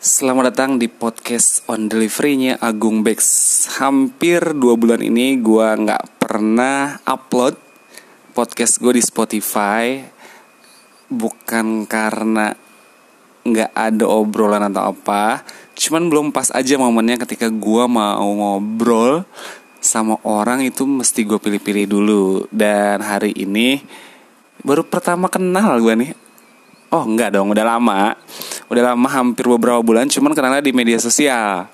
Selamat datang di podcast on delivery-nya Agung Bex Hampir dua bulan ini gue nggak pernah upload podcast gue di Spotify Bukan karena nggak ada obrolan atau apa Cuman belum pas aja momennya ketika gue mau ngobrol sama orang itu mesti gue pilih-pilih dulu Dan hari ini baru pertama kenal gue nih Oh enggak dong, udah lama Udah lama hampir beberapa bulan Cuman kenalnya di media sosial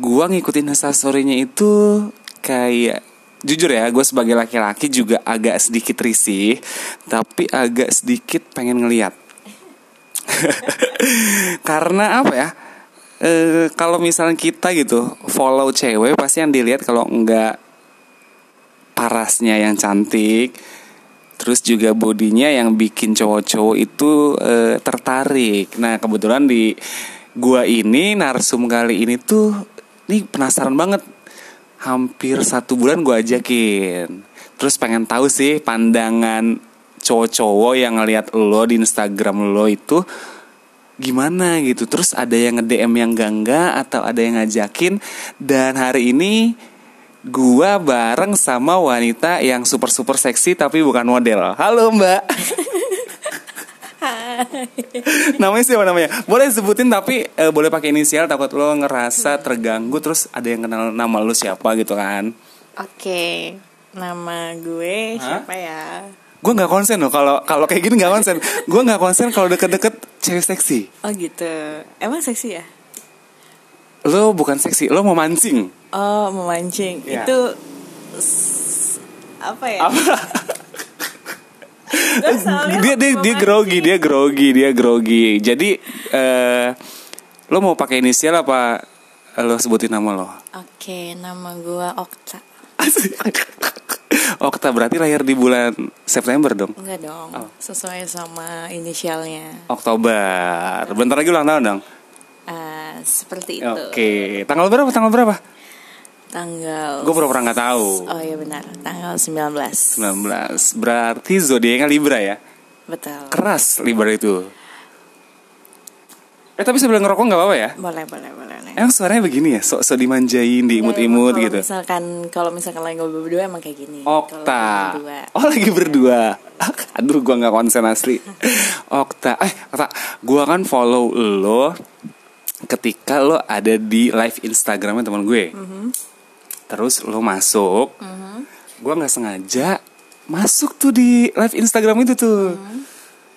Gua ngikutin instastorynya itu Kayak Jujur ya, gue sebagai laki-laki juga agak sedikit risih Tapi agak sedikit pengen ngeliat Karena apa ya e, Kalau misalnya kita gitu Follow cewek pasti yang dilihat kalau enggak Parasnya yang cantik terus juga bodinya yang bikin cowok-cowok itu eh, tertarik. Nah kebetulan di gua ini narsum kali ini tuh ini penasaran banget. Hampir satu bulan gua ajakin. Terus pengen tahu sih pandangan cowok-cowok yang ngelihat lo di Instagram lo itu gimana gitu. Terus ada yang nge-DM yang gangga atau ada yang ngajakin dan hari ini gua bareng sama wanita yang super super seksi tapi bukan model. Halo Mbak. namanya siapa namanya? Boleh sebutin tapi eh, boleh pakai inisial takut lo ngerasa terganggu terus ada yang kenal nama lo siapa gitu kan. Oke, nama gue Hah? siapa ya? Gue nggak konsen loh kalau kalau kayak gini nggak konsen. Gue nggak konsen kalau deket-deket cewek seksi. Oh gitu. Emang seksi ya? Lo bukan seksi, lo mau mancing. Oh, memancing. Iya. Itu s- apa ya? Gua soalnya dia dia dia memancing. grogi dia grogi dia grogi jadi eh lo mau pakai inisial apa lo sebutin nama lo Oke, nama gue Okta. Okta Oh, berarti lahir di bulan September dong Enggak dong, Oh. sesuai sama inisialnya. Oktober bentar lagi ulang tahun dong Ah, seperti itu. oke tanggal berapa tanggal berapa Tanggal gue pura-pura nggak tahu Oh iya benar, tanggal 19. 19 berarti zodiaknya Libra ya Betul. keras Libra itu eh tapi sebelum ngerokok nggak apa-apa ya Boleh, boleh, boleh. boleh. Emang suaranya begini ya, sok-sok dimanjain, diimut-imut Kalau gitu. Misalkan kalau misalkan lagi ngobrol berdua emang kayak gini. Kalau Okta. berdua. Oh lagi berdua. Aduh gua nggak konsen asli. Okta. Eh Okta, gua kan follow lo ketika lo ada di live Instagramnya teman gue. Mhm. Terus lo masuk. Gua nggak sengaja masuk tuh di live Instagram itu tuh. Mhm.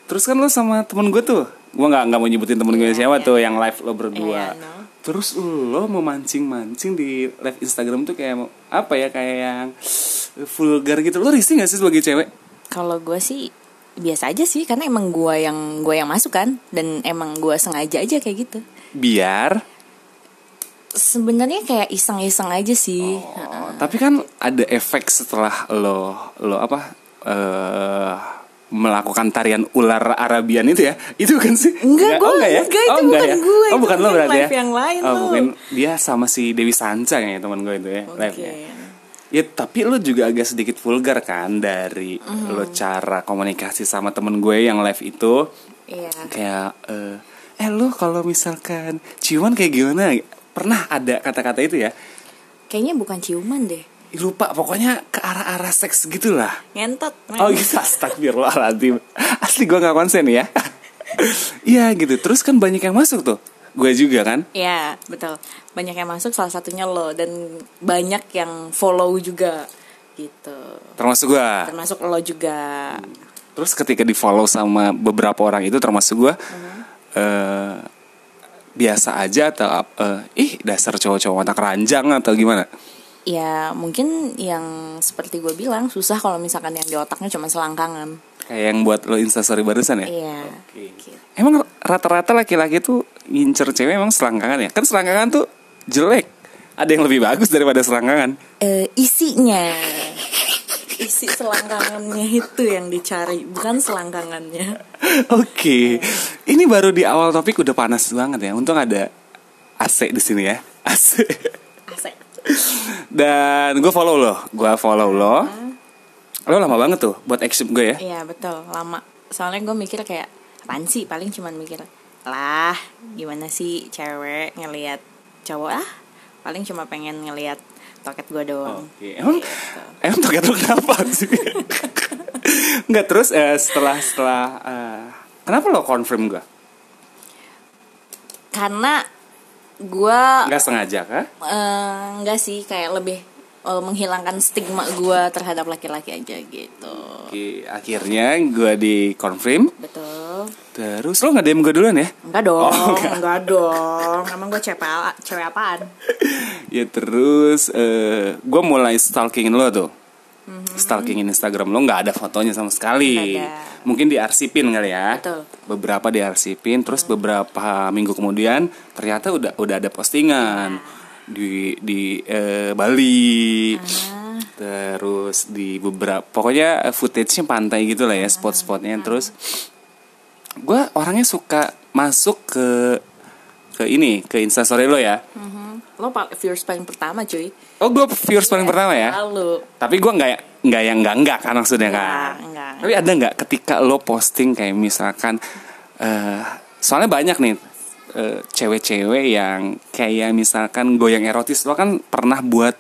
Terus kan lo sama temen gue tuh. Gua nggak nggak mau nyebutin temen gue siapa tuh yang live lo berdua. Iya, no. Terus lo memancing-mancing di live Instagram tuh kayak apa ya kayak yang vulgar gitu. Lo risih gak sih sebagai cewek? Kalau gue sih biasa aja sih karena emang gue yang gue yang masuk kan dan emang gue sengaja aja kayak gitu. Biar. Sebenarnya kayak iseng-iseng aja sih. Oh, tapi kan ada efek setelah lo lo apa eh melakukan tarian ular Arabian itu ya? Itu kan sih? Enggak, gua- ya? enggak, itu bukan gue, Oh, itu bukan lo mungkin berarti ya? live yang lain oh, lo. mungkin dia sama si Dewi Sanca kayaknya teman gue itu ya, Oke. live-nya. Ya tapi lu juga agak sedikit vulgar kan dari lo cara komunikasi sama temen gue yang live itu Iya. kayak eh, eh lu kalau misalkan ciuman kayak gimana pernah ada kata-kata itu ya Kayaknya bukan ciuman deh. Ih, lupa pokoknya ke arah-arah seks gitulah Ngentot. men. oh gitu astagfirullahaladzim asli gue nggak konsen ya iya gitu terus kan banyak yang masuk tuh gue juga kan Iya, betul. Banyak yang masuk salah satunya lo dan banyak yang follow juga gitu. termasuk gue Termasuk lo juga. Terus ketika di follow sama beberapa orang itu termasuk gue eh, biasa aja atau ap- eh, ih dasar cowok-cowok mata keranjang atau gimana? Ya mungkin yang seperti gue bilang susah kalau misalkan yang di otaknya cuma selangkangan. Kayak yang buat lo instastory barusan ya? Iya. Oke. Gitu. Emang rata-rata laki-laki tuh ngincer cewek emang selangkangan ya? Kan selangkangan tuh jelek. Ada yang lebih bagus daripada selangkangan. Eh, isinya isi selangkangannya itu yang dicari bukan selangkangannya Oke, ini baru di awal topik udah panas banget ya. Untung ada AC di sini ya. AC. asik Dan gue follow lo, gue follow lo. Lo lama banget tuh buat action gue ya. iya betul lama soalnya gue mikir kayak apaan sih paling cuman mikir lah gimana sih cewek ngelihat cowok ah paling cuma pengen ngelihat toket gue doang Oke. gitu. Emang emang target lu kenapa sih? Enggak terus eh, setelah setelah eh, kenapa lo confirm gua? karena gue Enggak sengaja kah? eh, enggak sih kayak lebih eh, menghilangkan stigma gue terhadap laki-laki aja gitu Oke, akhirnya gua di confirm. betul Terus lo nggak DM gue duluan ya? enggak dong Oh, enggak. dong emang gue cewek apa- cewek apaan Ya terus eh gue mulai stalkingin lo tuh. Stalkingin Instagram lo nggak ada fotonya sama sekali. Mhm. Nggak ada. Mungkin diarsipin kali ya. Betul. Mhm. Beberapa diarsipin, terus beberapa minggu kemudian ternyata udah udah ada postingan Iya. di di eh, Bali. Ah. Terus di beberapa pokoknya eh, footage-nya pantai gitu lah ya, Ah, spot-spotnya terus gue orangnya suka masuk ke ke ini ke instastory lo ya lo pal- viewers paling pertama cuy Oh gue viewers paling pertama ya lalu Tapi gue nggak ya, nggak yang nggak nggak kan maksudnya kan Nggak, nggak. Tapi ada nggak ketika lo posting kayak misalkan eh Soalnya banyak nih eh, Cewek-cewek yang kayak misalkan goyang erotis Lo kan pernah buat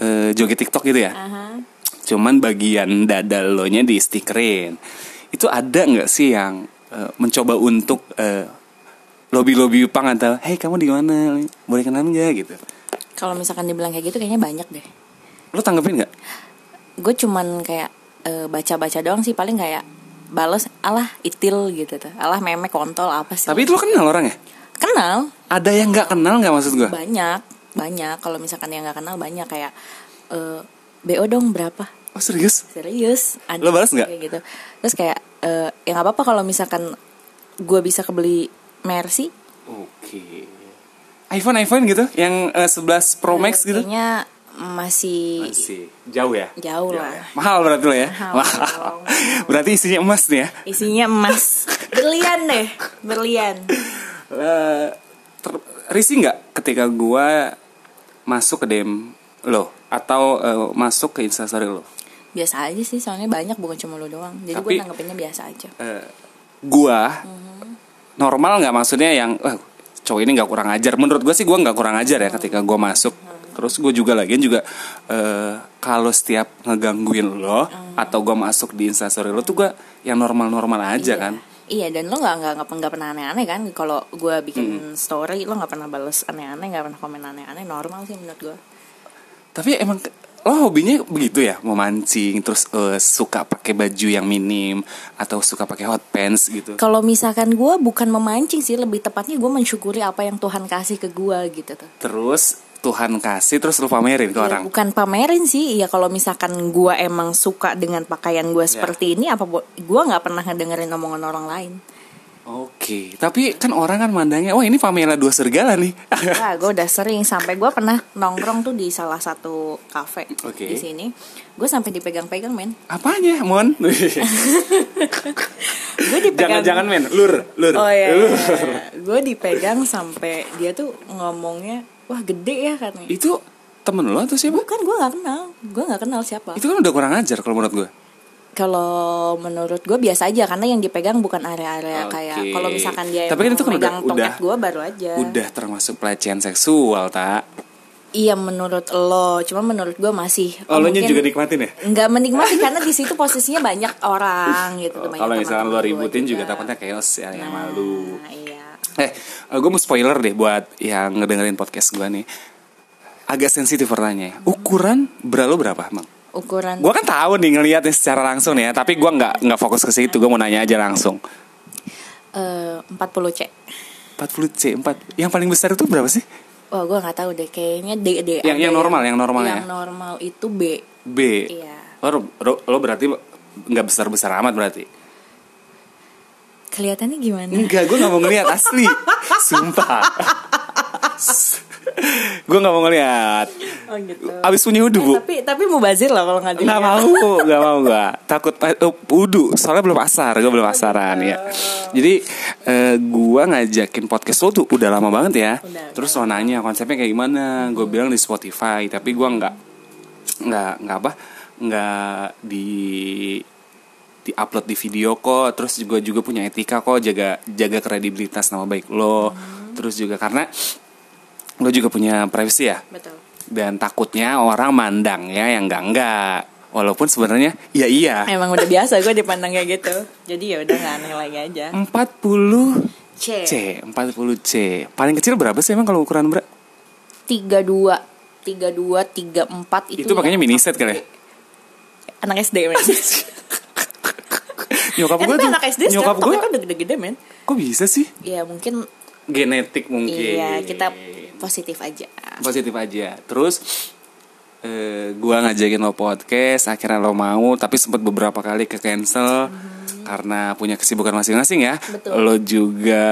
eh, joget tiktok gitu ya Cuman bagian dada lo nya di stikerin Itu ada nggak sih yang eh, mencoba untuk eh, Lobby-lobby upang atau Hei kamu di mana? Boleh kenalan nggak gitu kalau misalkan dibilang kayak gitu kayaknya banyak deh Lo tanggepin nggak? gue cuman kayak eh, baca-baca doang sih paling kayak bales alah itil gitu tuh alah memek kontol apa sih Tapi itu lo kenal ya? orangnya? kenal Ada yang nggak kenal nggak maksud gue? banyak banyak kalau misalkan yang nggak kenal banyak kayak eh, bo dong berapa Oh serius? serius ada Lo balas nggak? kayak gitu terus kayak eh, ya nggak apa-apa kalau misalkan gue bisa kebeli mercy Oke. iPhone iPhone gitu, yang eh, 11 Pro Max gitu? kayaknya masih Masih jauh ya? Jauh lah. ya. Mahal berarti lo ya? Mahal. Mahal. berarti isinya emas nih ya? isinya emas berlian deh berlian Eh, ter- risih nggak ketika gue masuk ke DM lo atau eh, masuk ke instastory lo? biasa aja sih soalnya banyak bukan cuma lu doang jadi gue Tapi- eh, nanggepinnya biasa aja gue normal nggak maksudnya yang "Eh, cowok ini nggak kurang ajar menurut gue sih gue nggak kurang ajar ya ketika gue masuk terus gue juga lagi juga eh, kalau setiap ngegangguin lo atau gue masuk di instastory lo tuh gue yang normal normal aja Iya. kan Iya dan lo nggak nggak nggak nggak pernah aneh-aneh kan kalau gue bikin story lo nggak pernah balas aneh-aneh nggak pernah komen aneh-aneh normal sih menurut gue. tapi emang ke- lo hobinya begitu ya memancing terus eh, suka pakai baju yang minim atau suka pakai hot pants gitu Kalau misalkan gue bukan memancing sih lebih tepatnya gue mensyukuri apa yang Tuhan kasih ke gue gitu tuh. terus Tuhan kasih terus lo pamerin ke Ya, orang bukan pamerin sih ya kalau misalkan gue emang suka dengan pakaian Iya. gue seperti ini apa bo- gue nggak pernah ngedengerin omongan orang lain. Oke, tapi kan orang kan mandangnya, wah ini Pamela dua serigala nih. Wah, gue udah sering sampai gue pernah nongkrong tuh di salah satu kafe Oke. di sini. Gue sampai dipegang-pegang men. Apanya, Mon? Gue dipegang. Jangan-jangan Uh. men, lur, lur. Oh iya, lur. gue dipegang sampai dia tuh ngomongnya wah gede ya katanya. Itu temen lo atau siapa? Bukan gue nggak kenal, gue nggak kenal siapa. Itu kan udah kurang ajar kalau menurut gue. Kalau menurut gue biasa aja karena yang dipegang bukan area-area Oke. kayak kalau misalkan dia Tapi kan itu kan udah- udah- gue baru aja. Udah termasuk pelecehan seksual, tak? Iya menurut lo, cuma menurut gue masih. Oh, lo nya mungkin juga nikmatin ya? nggak menikmati karena di situ posisinya banyak orang gitu. Oh, banyak kalau misalkan lo teman-teman gua ributin juga, takutnya chaos ya, yang malu. Nah, iya. Eh, gue mau spoiler deh buat yang ngedengerin podcast gue nih. Agak sensitif pertanyaannya. Ukuran bra lo berapa, Mang? Ukuran Gue kan tahu nih ngelihatnya secara langsung nih ya, tapi gue nggak nggak fokus ke situ, gue mau nanya aja langsung. eh, 40 c. 40 C 4 yang paling besar itu berapa sih Wah gue nggak tahu deh kayaknya D Yang- D ada yang normal, yang normal ya? yang normal itu B B Iya. lo, lo, lo berarti nggak besar besar amat berarti kelihatannya gimana enggak gue nggak mau ngeliat asli sumpah gue nggak mau ngeliat oh gitu abis punya udu bu tapi tapi mau bazir lah kalau nggak nggak dilihat. mau nggak mau gue takut eh, udu soalnya belum asar gue belum asaran ya jadi eh, gue ngajakin podcast lo tuh udah lama banget ya Udah, terus lo nanya konsepnya kayak gimana gue bilang di Spotify tapi gue nggak nggak nggak apa nggak di diupload di video kok terus juga juga punya etika kok jaga jaga kredibilitas nama baik lo terus juga karena lo juga punya privacy ya betul dan takutnya orang mandang ya yang enggak enggak walaupun sebenarnya iya iya emang udah biasa gue dipandang kayak gitu jadi ya udah nggak aneh lagi aja 40 C C 40 C paling kecil berapa sih emang kalau ukuran berat tiga dua tiga dua tiga empat itu itu pakainya mini set kali ya? anak SD men nyokap kan gue gue tuh anak SD nyokap sekarang gue toketnya udah kan gede-gede men kok bisa sih ya mungkin genetik mungkin iya kita positif aja positif aja terus eh, gua ngajakin lo podcast akhirnya lo mau tapi sempat beberapa kali ke cancel karena punya kesibukan masing-masing ya Betul. lo juga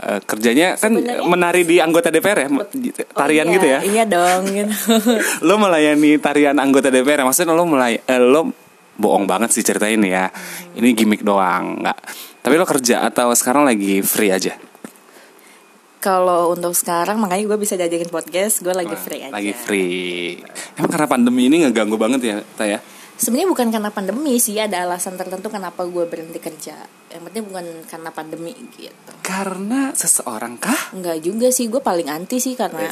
eh, kerjanya kan Sebenarnya- menari di anggota DPR ya me- Oh, tarian iya, gitu ya iya dong gitu. lo melayani tarian anggota DPR ya? maksudnya lo melay eh, lo bohong banget sih cerita ini ya ini gimmick doang nggak tapi lo kerja atau sekarang lagi free aja kalau untuk sekarang makanya gue bisa diajakin podcast gue lagi Nah, free aja Lagi free. Emang karena pandemi ini ngeganggu banget ya, Taya? sebenarnya bukan karena pandemi sih ada alasan tertentu kenapa gue berhenti kerja yang penting bukan karena pandemi gitu Karena seseorang kah? Enggak juga sih gue paling anti sih karena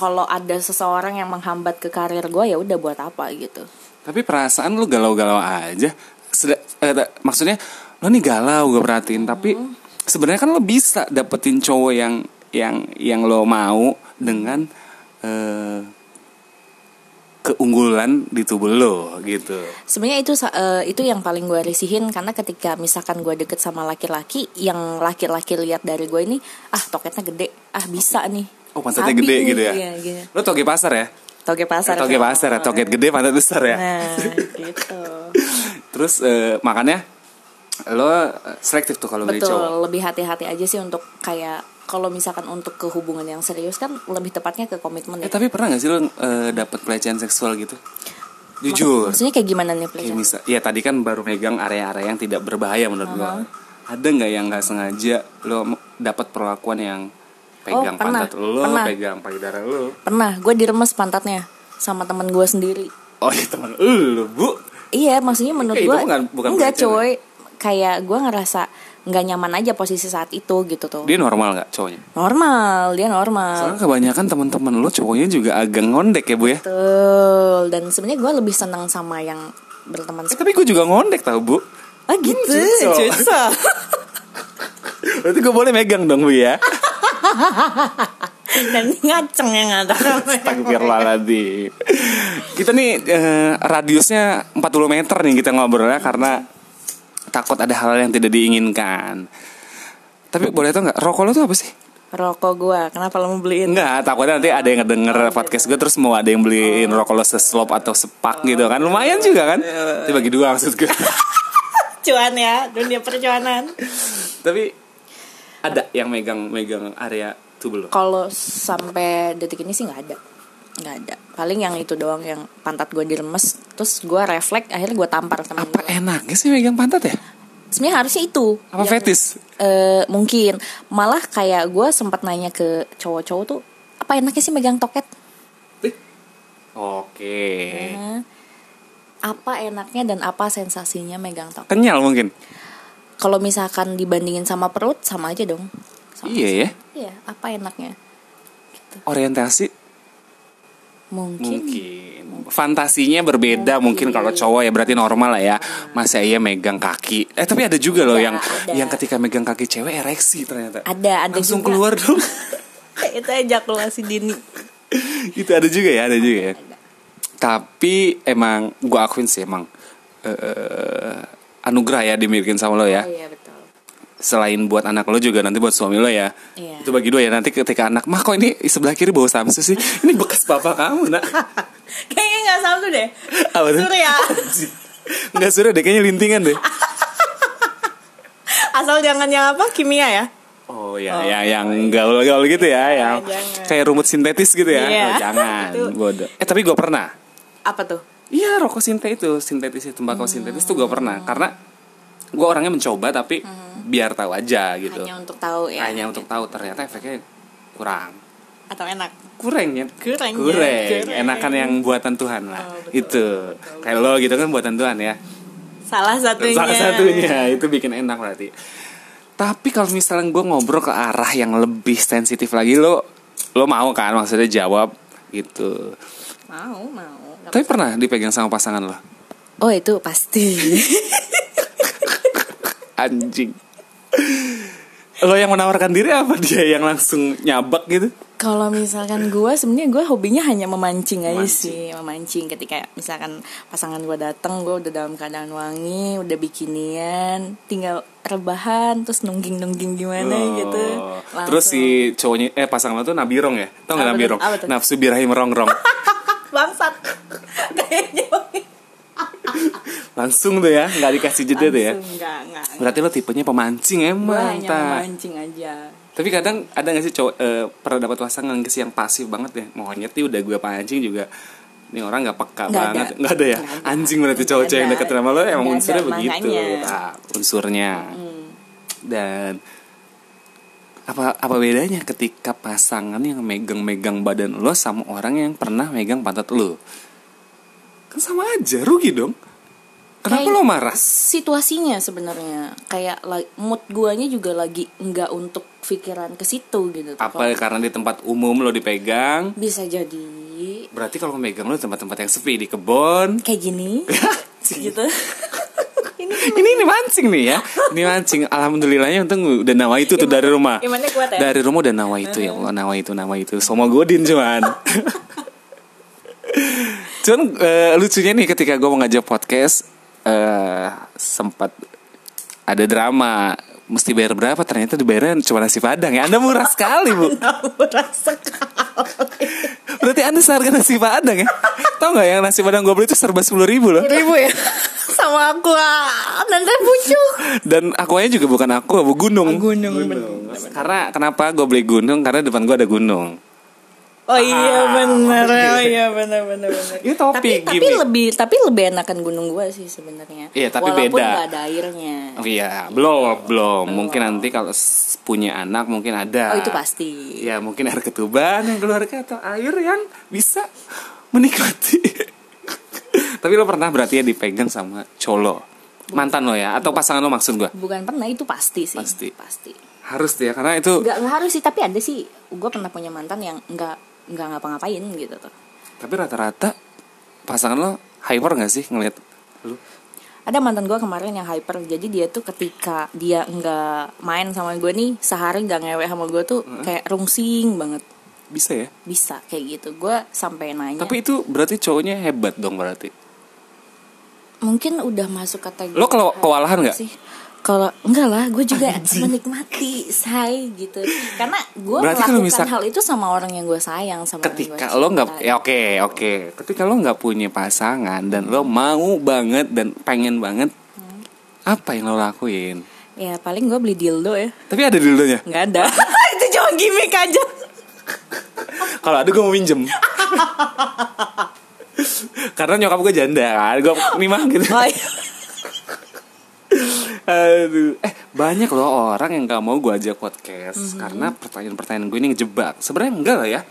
kalau ada seseorang yang menghambat ke karir gue ya udah buat apa gitu Tapi perasaan lu galau-galau aja. Seda- eh, da- maksudnya lo nih galau gue perhatiin, tapi sebenarnya kan lo bisa dapetin cowok yang yang yang lo mau dengan eh, keunggulan di tubuh lo gitu. sebenarnya itu sa- eh, itu yang paling gue risihin karena ketika misalkan gue deket sama laki-laki yang laki-laki lihat dari gue ini ah toketnya gede ah bisa nih Oh pantatnya Abi gede nih. gitu ya. Iya, gini. Lo toge pasar ya? toge pasar toge Sama. pasar, ya, toge gede pantat besar ya. nah gitu Terus eh, makanya lo eh, selektif tuh kalau milih betul cowok. lebih hati-hati aja sih untuk kayak kalau misalkan untuk ke hubungan yang serius kan lebih tepatnya ke komitmen Eh ya tapi pernah gak sih lo eh, dapet pelecehan seksual gitu? Jujur. maksudnya kayak gimana nih Kayak pelecehan misa- ya tadi kan baru megang area-area yang tidak berbahaya menurut gua Uh-huh. Ada nggak yang nggak sengaja lo m- dapat perlakuan yang pegang Oh, pernah, pantat lo, pernah. pegang payudara lo? pernah gue diremes pantatnya sama temen gue sendiri Oh iya teman lo bu. iya maksudnya menurut itu gue bukan- bukan ya? enggak pelecehan coy kayak gue ngerasa nggak nyaman aja posisi saat itu gitu tuh Dia normal nggak cowoknya? normal dia normal Soalnya kebanyakan teman-teman lo cowoknya juga agak ngondek ya bu ya. betul dan sebenarnya gue lebih senang sama yang berteman Eh, tapi gue juga ngondek tau bu. ah Hmm, gitu Cuco. Cuco. Berarti gue boleh megang dong bu ya. dan ngaceng yang ada Astagfirullahaladzim Kita nih eh, radiusnya 40 meter nih kita ngobrolnya Karena takut ada hal yang tidak diinginkan Tapi boleh tau gak rokok lo tuh apa sih? rokok gue kenapa lo mau beliin Enggak, takutnya nanti ada yang ngedenger podcast gue Terus mau ada yang beliin rokok lo seslop atau sepak gitu kan Lumayan juga kan Itu bagi dua maksud gue cuan ya dunia percuanan Tapi ada yang megang-megang area tubuh lo kalau sampai detik ini sih nggak ada nggak ada paling yang itu doang yang pantat gue diremes terus gue refleks akhirnya gue tampar temen Apa gue enaknya sih megang pantat ya? sebenarnya harusnya itu Apa Yang, fetis? eh, mungkin malah kayak gue sempat nanya ke cowok-cowok tuh apa enaknya sih megang toket Ih. Oke Nah, apa enaknya dan apa sensasinya megang toket Kenyal mungkin? kalau misalkan dibandingin sama perut sama aja dong sama Iya ya iya apa enaknya orientasi mungkin, mungkin fantasinya berbeda mungkin, kalau cowok ya berarti normal lah ya masa iya megang kaki eh tapi ada juga loh Ada, yang Iya, ada. yang ketika megang kaki cewek ereksi ternyata ada ada langsung juga. keluar dong itu ejakulasi dini itu ada juga ya ada juga ya tapi emang gua akuin sih emang eh, anugerah ya dimilikin sama lo ya oh iya betul selain buat anak lo juga nanti buat suami lo ya Iya. itu bagi dua ya nanti ketika anak mah kok ini sebelah kiri bawa samsu sih ini bekas papa kamu nak Kayaknya gak Sabtu deh Apa tuh? Surya nggak sudah deh kayaknya lintingan deh Asal jangan yang apa kimia ya Oh ya, ya yang gaul-gaul gitu ya, yang Nah, jangan. kayak rumut sintetis gitu ya. Iya. Oh, jangan, Itu. bodoh. Eh tapi gue pernah. Apa tuh? Iya rokok sintet itu, sintetis itu, tembakau sintetis tuh gue pernah. Karena gue orangnya mencoba tapi biar tahu aja gitu. Hmm. Hanya untuk tahu ya Hanya untuk tahu ternyata efeknya kurang. Atau enak Kurang ya? Kurang, ya. Kurang. Kurang. Enakan yang buatan Tuhan lah. Oh, betul, itu. Kayak lo gitu kan buatan Tuhan ya. salah satunya Salah satunya itu bikin enak berarti. Tapi kalau misalnya gue ngobrol ke arah yang lebih sensitif lagi lo lo mau kan maksudnya jawab gitu. mau mau Nggak- Tapi pernah dipegang sama pasangan lo? oh itu pasti Anjing. Lo yang menawarkan diri apa dia yang langsung nyabak gitu? kalau misalkan gue sebenarnya gue hobinya hanya memancing Memancing. aja sih memancing ketika misalkan pasangan gue datang gue udah dalam keadaan wangi udah bikinian tinggal rebahan terus nungging nungging gimana Oh. gitu Terus Langsung. si cowoknya eh pasangan lo tuh nabirong ya? Tau Apa gak tuh? nabirong? Apa tuh? Nafsu birahi merongrong. bangsat kayaknya langsung tuh ya, nggak dikasih jeda tuh ya. Langsung, enggak enggak Berarti lo tipenya pemancing ya, gue emang, hanya Ta. memancing aja Tapi kadang ada gak sih cowok eh, pernah dapat pasangan yang yang pasif banget ya? Monyet nih udah gue pancing juga. Ini orang gak peka Nggak banget. ada. Nggak ada ya? Nggak ada. Anjing berarti cowok-cowok yang Nggak deket ada. sama lo emang Nggak ada, unsurnya begitu. makanya. Mm. Ah, unsurnya. Dan apa apa bedanya ketika pasangan yang megang-megang badan lo sama orang yang pernah megang pantat lo? Kan sama aja, rugi dong. Kenapa Kayak- gitu. lo marah? situasinya sebenarnya kayak la- mood guanya juga lagi enggak untuk pikiran ke situ gitu apa karena di tempat umum lo dipegang bisa jadi berarti kalau megang lo di tempat-tempat yang sepi di kebun kayak gini gitu ini ini ini mancing nih ya ini mancing alhamdulillahnya untung udah nawa itu tuh dari rumah imannya kuat ya? dari rumah udah nawa itu ya Allah nawa itu nawa itu semua godin cuman cuman eh, lucunya nih ketika gue mau ngajak podcast eh sempat ada drama mesti bayar berapa ternyata dibayarnya cuma nasi padang ya anda murah sekali bu merasa Berarti anda seharga nasi padang ya? Tau gak yang nasi padang gue beli itu serba sepuluh ribu loh ribu ya sama aku ah. nanti pucuk Dan akuanya juga bukan aku, aku gunung gunung Karena kenapa gue beli gunung? Karena depan gue ada gunung oh iya benar oh iya benar benar benar Ah. Ini topik, tapi tapi gimmick. lebih tapi lebih enakan gunung gua sih sebenarnya Iya, tapi walaupun beda. nggak ada airnya Oh iya, belum, belum Mungkin nanti kalau s- punya anak mungkin ada oh itu pasti Ya mungkin air ketuban yang keluarga atau air yang bisa menikmati Tapi lo pernah berarti ya dipegang sama colo Mantan lo ya? Atau pasangan lo maksud gue? bukan pernah itu pasti sih Pasti. pasti Harus tuh ya, karena itu nggak nggak harus sih tapi ada sih gue pernah punya mantan yang nggak nggak ngapa-ngapain gitu tuh Tapi rata-rata pasangan lo hyper gak sih ngeliat lu? ada mantan gue kemarin yang hyper jadi dia tuh ketika dia nggak main sama gue nih sehari nggak ngewe sama gue tuh kayak rungsing banget Bisa ya? bisa kayak gitu gue sampai nanya Tapi itu berarti cowoknya hebat dong berarti. mungkin udah masuk kategori Lo kalau kewalahan nggak? Iya, sih kalau enggak lah gue juga menikmati say gitu karena gue Berarti kalau melakukan misal- hal itu sama orang yang gue sayang sama orang yang Ketika gua lo nggak, cintai. ya oke oke. Ketika lo nggak punya pasangan dan lo mau banget dan pengen banget, apa yang lo lakuin? ya paling gue beli dildo ya Tapi ada dulunya. nggak ada itu cuma gimmick aja Kalau ada gue mau minjem. Karena nyokap gue janda kan, gue nih mah gitu. oh, iya. Aduh. Eh banyak loh orang yang gak mau gue ajak podcast karena pertanyaan-pertanyaan gue ini ngejebak. Sebenarnya enggak lah ya.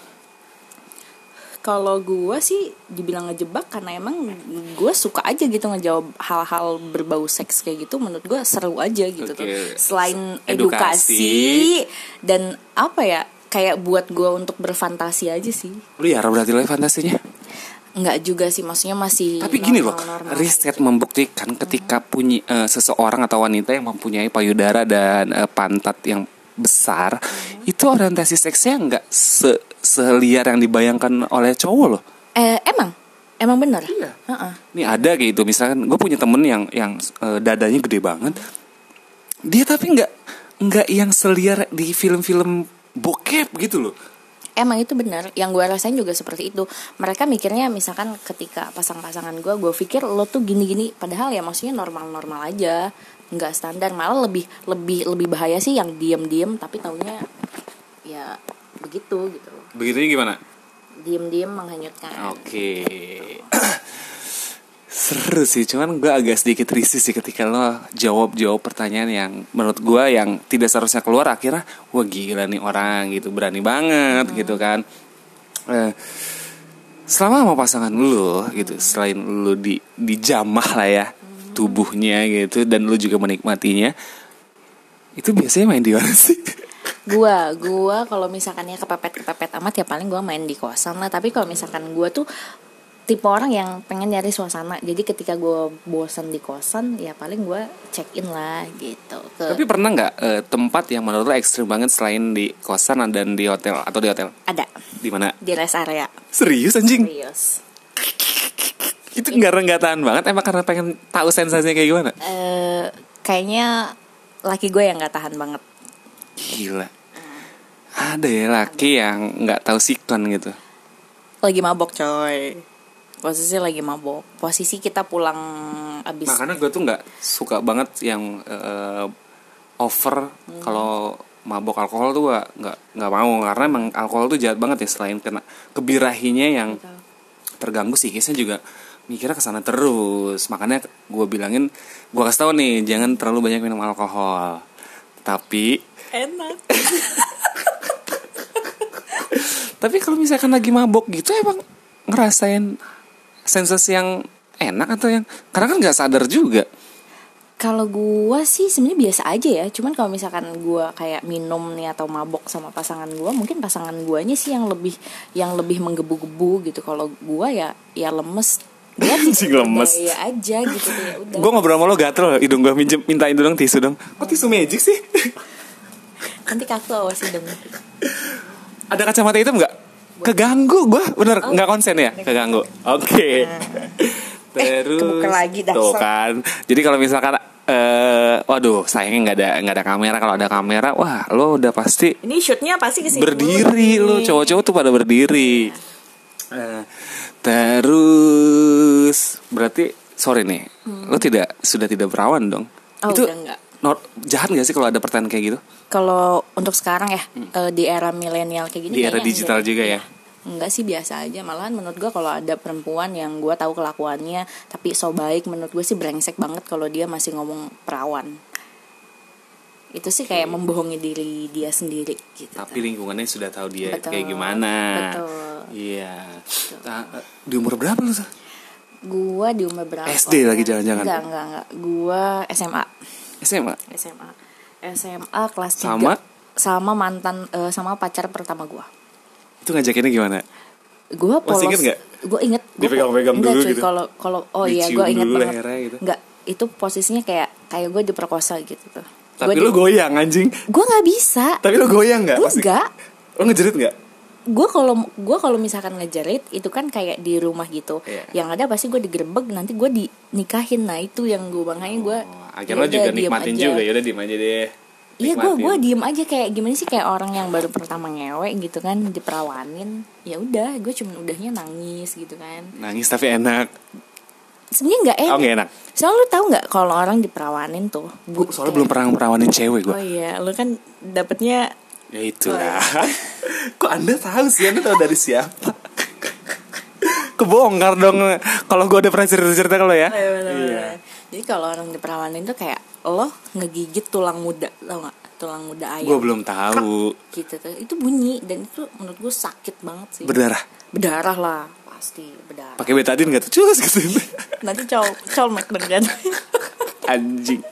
kalau gue sih dibilang ngejebak karena emang gue suka aja gitu ngejawab hal-hal berbau seks kayak gitu menurut gue seru aja gitu tuh Oke. selain Edukasi. edukasi dan apa ya kayak buat gue untuk berfantasi aja sih Lu ya berarti lo fantasinya. nggak juga sih maksudnya masih Tapi gini loh, normal-normal. riset membuktikan ketika punya eh, seseorang atau wanita yang mempunyai payudara dan eh, pantat yang besar, itu orientasi seksnya nggak se seliar yang dibayangkan oleh cowok loh. eh emang emang bener Iya. Heeh. Nih ada kayak gitu, misalkan gue punya temen yang yang eh, dadanya gede banget, dia tapi nggak nggak yang seliar di film-film bokep gitu loh. Emang itu benar, yang gue rasain juga seperti itu. Mereka mikirnya misalkan ketika pasang-pasangan gue, gue pikir lo tuh gini-gini, padahal ya maksudnya normal-normal aja, nggak standar. Malah lebih lebih lebih bahaya sih yang diem-diem, tapi taunya ya begitu gitu loh. Begitunya gimana? Diem-diem menghanyutkan. Oke. Seru sih, cuman gue agak sedikit risih sih ketika lo jawab-jawab pertanyaan yang menurut gue yang tidak seharusnya keluar akhirnya wah gila nih orang gitu, berani banget gitu kan. Eh, selama sama pasangan lo gitu, selain lo di dijamah lah ya, tuh tubuhnya gitu dan lu juga menikmatinya itu biasanya main di mana sih gua gua kalau misalkan ya kepepet kepepet amat ya paling gua main di kosan lah tapi kalau misalkan gua tuh tipe orang yang pengen nyari suasana jadi ketika gua bosan di kosan ya paling gua check in lah gitu ke tapi pernah nggak eh, tempat yang menurut lu ekstrim banget selain di kosan dan di hotel atau di hotel ada di mana di rest area serius anjing serius itu nggak nggak tahan banget emang karena pengen tahu sensasinya kayak gimana eh kayaknya laki gue yang nggak tahan banget gila ada ya laki yang nggak tahu sikon gitu lagi mabok coy posisi lagi mabok posisi kita pulang abis makanya gue tuh nggak suka banget yang eh, over kalau mabok alkohol tuh gak nggak nggak mau karena emang alkohol tuh jahat banget ya selain kena kebirahinya yang terganggu psikisnya juga mikirnya kesana terus makanya gue bilangin gue kasih tahu nih jangan terlalu banyak minum alkohol tapi enak tapi kalau misalkan lagi mabok gitu emang ngerasain sensasi yang enak atau yang karena kan nggak sadar juga kalau gua sih sebenarnya biasa aja ya cuman kalau misalkan gua kayak minum nih atau mabok sama pasangan gua mungkin pasangan guanya sih yang lebih yang lebih menggebu-gebu gitu kalau gua ya ya lemes Gua Anjing lemes. berdaya aja gitu ya udah Gue ngobrol sama lo gatel hidung gue minjem mintain dong tisu dong. Kok tisu magic sih? nanti kaku awas hidung Ada kacamata hitam nggak? Keganggu gue bener nggak konsen ya? Keganggu. Oke. Terus kebuka lagi, tuh dasar. kan. Jadi kalau misalkan eh waduh sayangnya nggak ada nggak ada kamera kalau ada kamera wah lo udah pasti ini shootnya pasti kesini berdiri lo cowok-cowok tuh pada berdiri Eh, terus berarti sorry nih lo tidak sudah tidak berawan dong Hmm. Oh, itu udah nggak. nor- jahat nggak sih kalau ada pertanyaan kayak gitu kalau untuk sekarang ya eh, di era milenial kayak gini Hmm. di era kayaknya digital enggak. juga ya Enggak sih biasa aja Malahan menurut gue kalau ada perempuan yang gue tahu kelakuannya Tapi so baik menurut gue sih brengsek banget kalau dia masih ngomong perawan Itu sih kayak membohongi diri dia sendiri gitu Hmm. tapi lingkungannya sudah tahu dia Betul, kayak gimana betul. iya Ta- di umur berapa lu Sa? Gue di umur berapa? SD lagi jangan-jangan. Enggak, enggak, enggak Gue SMA SMA SMA SMA kelas 3 Sama? Sama mantan, eh, sama pacar pertama gue itu ngajakinnya gimana gue polos inget nggak? gue inget gua- Dipegang-pegang enggak, dulu cuy, gitu. kalau kalau oh iya Dicium gue inget dulu banget lehernya gitu. nggak itu posisinya kayak kayak gue diperkosa gitu tuh tapi lu goyang anjing gue nggak bisa tapi lu goyang nggak Pasti- enggak lu ngejerit nggak gue kalau gue kalau misalkan ngejerit itu kan kayak di rumah gitu Iya. yang ada pasti gue digerebek nanti gue dinikahin nah itu yang gue makanya gue oh, akhirnya lu juga nikmatin juga ya udah diem aja deh Iya gue Nikmatin. gue diem aja kayak gimana sih kayak orang yang baru pertama ngewe gitu kan diperawanin ya udah gue cuman udahnya nangis gitu kan nangis tapi enak sebenarnya nggak enak oh nggak enak Soalnya lu tahu nggak kalau orang diperawanin tuh? Gua soalnya belum pernah perawanin cewek Oh gue iya, lu kan dapetnya ya itulah kok anda tahu sih anda tahu dari siapa kebongkar dong kalau gue udah pernah cerita cerita kalau ya Iya, Jadi kalau orang diperawanin tuh kayak lo ngegigit tulang muda, tau nggak? Tulang gue muda ayam. Iya. belum tahu Gitu tuh. Itu bunyi dan itu menurut gue sakit banget sih. berdarah berdarah lah, pasti berdarah. pakai betadin gak tuh cus gitu Nanti col colmek dengan anjing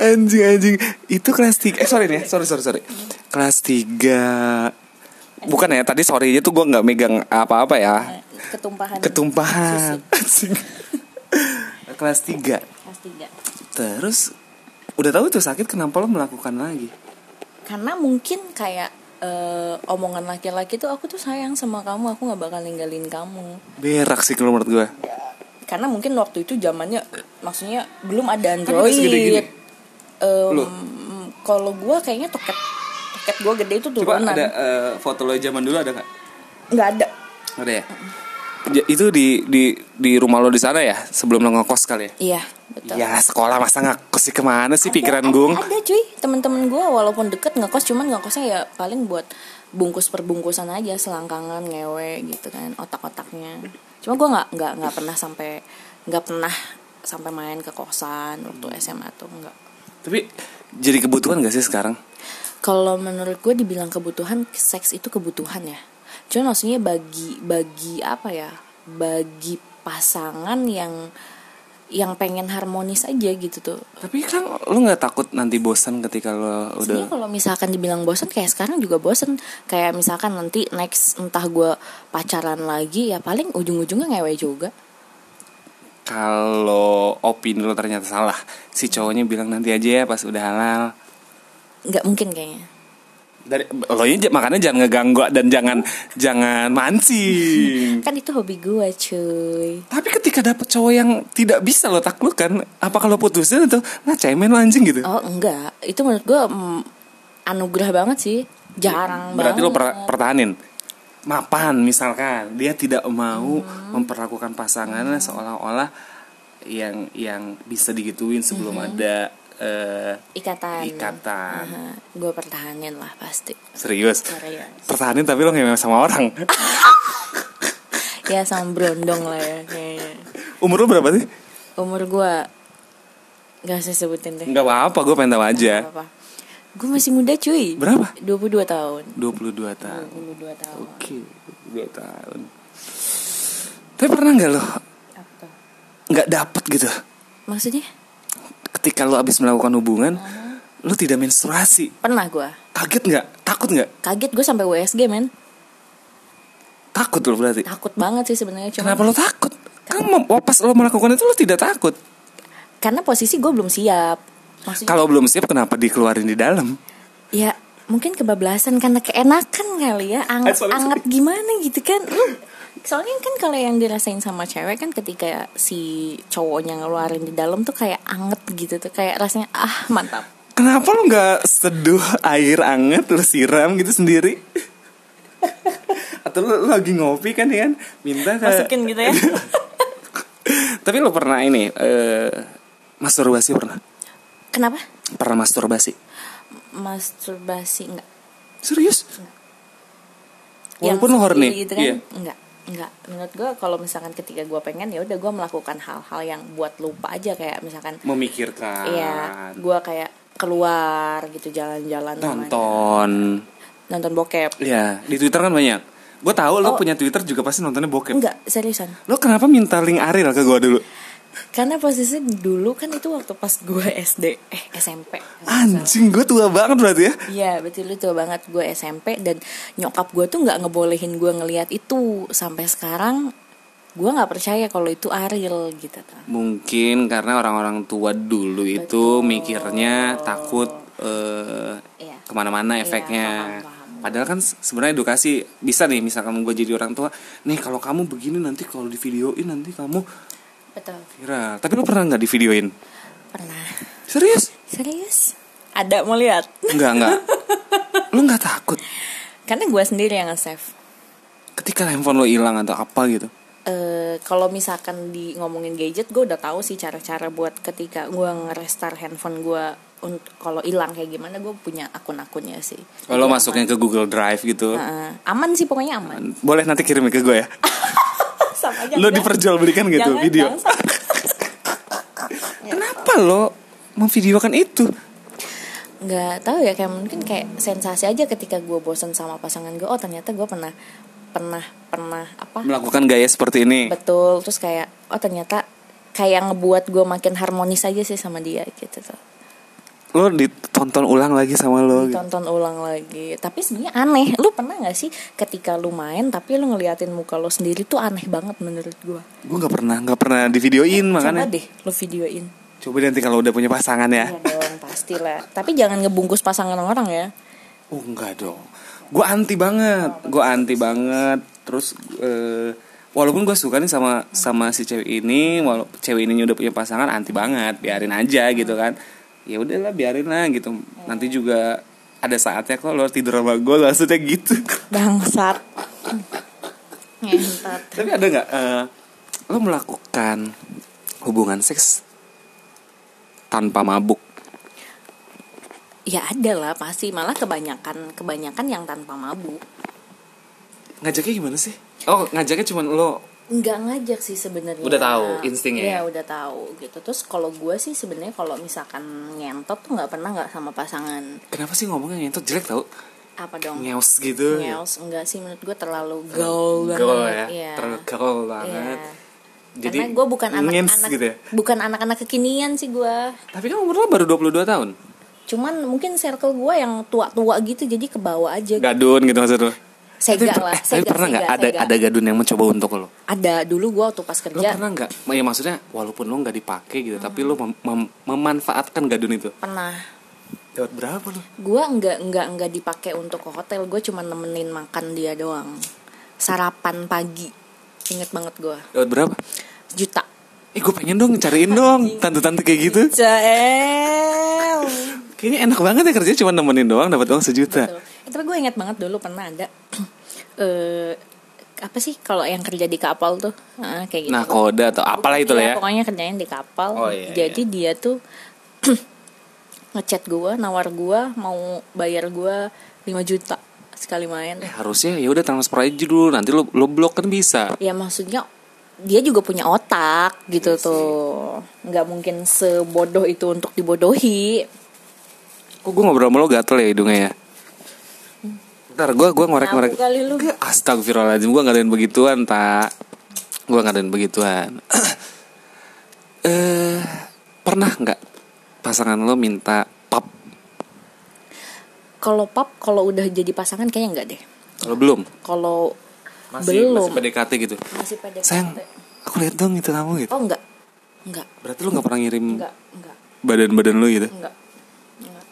anjing anjing itu kelas tiga eh sorry nih sorry sorry sorry kelas tiga bukan ya tadi sorry tuh gue nggak megang apa apa ya ketumpahan. ketumpahan Anjing. kelas tiga Kelas tiga. terus udah tahu itu sakit kenapa lo melakukan lagi Karena mungkin kayak eh, omongan laki-laki tuh aku tuh sayang sama kamu, aku nggak bakal ninggalin kamu. berak sih kalau menurut gue karena mungkin waktu itu zamannya maksudnya belum ada Kan kita segede gini. Android. Em, Lu? kalau gua kayaknya toket toket gua gede itu coba turunan. ada eh, foto lo zaman dulu ada nggak Nggak ada. ada ya Ja- itu di di di rumah lo di sana ya sebelum lo ngekos kali ya Iya, betul. Ya sekolah masa ngekos sih kemana sih pikiran ada, gung Ada cuy, temen-temen gua walaupun deket ngekos cuman ngekosnya ya paling buat bungkus perbungkusan aja selangkangan ngewe gitu kan otak-otaknya. Cuma gua nggak nggak nggak pernah sampai nggak pernah sampai main ke kosan waktu Hmm. SMA tuh nggak. Tapi jadi kebutuhan gak sih sekarang? Kalau menurut gue dibilang kebutuhan seks itu kebutuhan ya. Cuman maksudnya bagi bagi apa ya? Bagi pasangan yang yang pengen harmonis aja gitu tuh Tapi kan lu nggak takut nanti bosan ketika lu udah Sebenarnya kalau misalkan dibilang bosen kayak sekarang juga bosen kayak misalkan nanti next entah gue pacaran lagi ya paling ujung-ujungnya ngewe juga kalau opini lu ternyata salah, si cowoknya bilang nanti aja ya pas udah halal. nggak mungkin kayaknya Dari lo ini j- makanya jangan ngeganggu dan jangan jangan mancing. kan itu hobi gue cuy Tapi ketika dapet cowok yang tidak bisa lo taklukkan, apa kalau putusin itu nah cemen lo anjing gitu? oh enggak itu menurut gue mm, anugerah banget sih jarang Berarti lo banget per- pertahanin Mapan misalkan Dia tidak mau memperlakukan pasangannya Seolah-olah yang yang bisa digituin sebelum ada eh, ikatan ikatan gue pertahanin lah pasti ya. Serius Serius. Pertahanin tapi lo ngewe sama orang ya sama brondong lah ya kayaknya Umur lo berapa sih? umur gue nggak usah sebutin deh Enggak apa-apa gue pengen tahu aja apa gue masih muda cuy Berapa? 22 tahun 22 tahun 22 tahun Oke 22 tahun Tapi pernah nggak lo apa nggak dapet gitu maksudnya Ketika lo abis melakukan hubungan Lo tidak menstruasi pernah gue Kaget nggak? Takut nggak? kaget gue sampai WSG men Takut lo berarti. takut banget sih sebenarnya cuma Kenapa lo takut? Kan mem- pas lo melakukan itu lo tidak takut. karena posisi gue belum siap maksudnya Kalau belum siap kenapa dikeluarin di dalam? ya mungkin kebablasan karena keenakan kali Eh, ya anget sorry, sorry. anget gimana gitu kan Lu- soalnya kan kalau yang dirasain sama cewek kan ketika si cowoknya ngeluarin di dalam tuh kayak anget gitu tuh kayak rasanya ah mantap Kenapa lo nggak seduh air anget lo siram gitu sendiri? Atau lo, lo lagi ngopi kan ya kan? Minta ke... masukin gitu ya Tapi lo pernah ini eh, masturbasi pernah? kenapa Pernah masturbasi? masturbasi enggak Serius? Yang Walaupun lo Oh, horny. sendiri gitu kan Iya. enggak enggak menurut gue kalau misalkan ketika gue pengen ya udah gue melakukan hal-hal yang buat lupa aja kayak misalkan Memikirkan. Iya, gue kayak keluar gitu jalan-jalan namanya. Nonton. nonton bokep. Iya, di Twitter kan banyak. Gue tahu lo Oh. punya Twitter juga pasti nontonnya bokep. Enggak, seriusan. Lo kenapa minta link Ariel ke gue dulu? Karena posisi dulu kan itu waktu pas gue SD, eh SMP. Anjing gue tua banget berarti ya Iya, betul itu banget gue SMP dan nyokap gue tuh nggak ngebolehin gue ngelihat itu sampai sekarang gue nggak percaya kalau itu Ariel gitu. Mungkin karena orang-orang tua dulu itu mikirnya takut eh, Iya. kemana-mana Iya, efeknya paham, paham. Padahal kan se- sebenarnya edukasi bisa nih misalkan gue jadi orang tua Nih kalau kamu begini nanti kalau di videoin nanti kamu Betul. viral Tapi lo pernah nggak di videoin? Pernah. Serius? Serius? Ada mau lihat? Enggak, enggak Lo nggak takut Karena gue sendiri yang nge-save. ketika handphone lo hilang atau apa gitu eh kalau misalkan di ngomongin gadget gue udah tahu sih cara-cara buat ketika gue ngerestar handphone gue untuk kalau hilang kayak gimana gue punya akun-akunnya sih Kalau Jadi masuknya ke Google Drive gitu aman. Eh, aman sih pokoknya aman Boleh nanti kirim ke gue ya sama aja Lo enggak. diperjualbelikan gitu Ah, iya, Jangan, video Ah, jangan sampai. Kenapa lo memvideokan itu? nggak tahu ya kayak mungkin kayak sensasi aja ketika gue bosen sama pasangan gue oh ternyata gue pernah pernah pernah apa Melakukan gaya seperti ini. betul terus kayak oh ternyata kayak ngebuat gue makin harmonis aja sih sama dia gitu tuh Lo ditonton ulang lagi sama lo gitu. tonton ulang lagi tapi sebenarnya aneh lu pernah nggak sih ketika lu main tapi lu ngeliatin muka lu sendiri tuh aneh banget menurut gua Gue nggak pernah nggak pernah divideoin makanya. coba deh lu videoin Coba nanti kalau udah punya pasangan ya. Iya dong pastilah tapi jangan ngebungkus pasangan orang ya Oh enggak dong. Gue anti banget. Gue anti banget. Terus eh, walaupun gue suka nih sama sama si cewek ini, walau cewek ini udah punya pasangan anti banget. Biarin aja gitu kan. Ya udahlah biarin lah gitu. Nanti juga ada saatnya kok lo tidur sama gue maksudnya gitu. bangsat ngentot Tapi ada nggak eh, lo melakukan hubungan seks tanpa mabuk? ya ada lah pasti malah kebanyakan kebanyakan yang tanpa mabuk Ngajaknya gimana sih? Oh ngajaknya cuman lo nggak ngajak sih sebenarnya Udah tahu instingnya Iya, ya? udah tahu gitu terus kalau gua sih sebenarnya kalau misalkan ngentot tuh nggak pernah nggak sama pasangan kenapa sih ngomongnya ngentot jelek tau? apa dong Ngeos gitu. Ngeos enggak sih menurut gue terlalu gaul banget. Gaul ya, Iya. terlalu gaul banget. Iya. Karena gue bukan ngens anak-anak gitu ya. bukan anak-anak kekinian sih gue. Tapi kan umur lo baru 22 tahun. Cuman mungkin circle gue yang tua-tua gitu jadi ke bawah aja. Gadun gitu maksud lo. tapi, Sega per- lah. eh, tapi sega, pernah nggak sega, ada sega. ada gadun yang mencoba untuk lo? Ada dulu gue waktu pas Lo kerja pernah nggak? Ya maksudnya walaupun lo nggak dipakai gitu, tapi lo mem- mem- memanfaatkan gadun itu. pernah. Dapat berapa lu? Gue nggak nggak nggak dipakai untuk ke hotel. Gue cuma nemenin makan dia doang. Sarapan pagi. Ingat banget gue. Dapat berapa? Juta. Eh gue pengen dong cariin dong tante-tante kayak gitu. Jael. Kayaknya enak banget ya kerjanya cuma nemenin doang dapat uang sejuta. Betul. Eh, tapi gue ingat banget dulu pernah ada eh apa sih kalau yang kerja di kapal tuh Ah, kayak gitu. Nah koda atau apalah itu lah Iya, ya. Pokoknya kerjanya di kapal. Oh, iya, Jadi dia tuh ngechat gue, nawar gue mau bayar gue 5 juta sekali main. Eh, harusnya ya udah transfer aja dulu nanti lo lo blok kan bisa. Ya maksudnya dia juga punya otak Iya gitu tuh. nggak mungkin sebodoh itu untuk dibodohi. Kok gue ngobrol sama lo gatel ya hidungnya ya? Ntar gue gue ngorek-ngorek. Nabuk kali lu. Nggak, Astagfirullahaladzim gue ngadain begituan tak. Gue ngadain begituan. eh pernah nggak pasangan lo minta pap? Kalau pap kalau udah jadi pasangan kayaknya enggak deh. Kalau belum? Kalau Masih, belum Masih PDKT gitu. masih PDKT. Sayang, aku lihat dong itu kamu gitu. Oh enggak. Enggak, Berarti lo nggak pernah ngirim enggak, enggak, badan-badan lo gitu? enggak. enggak.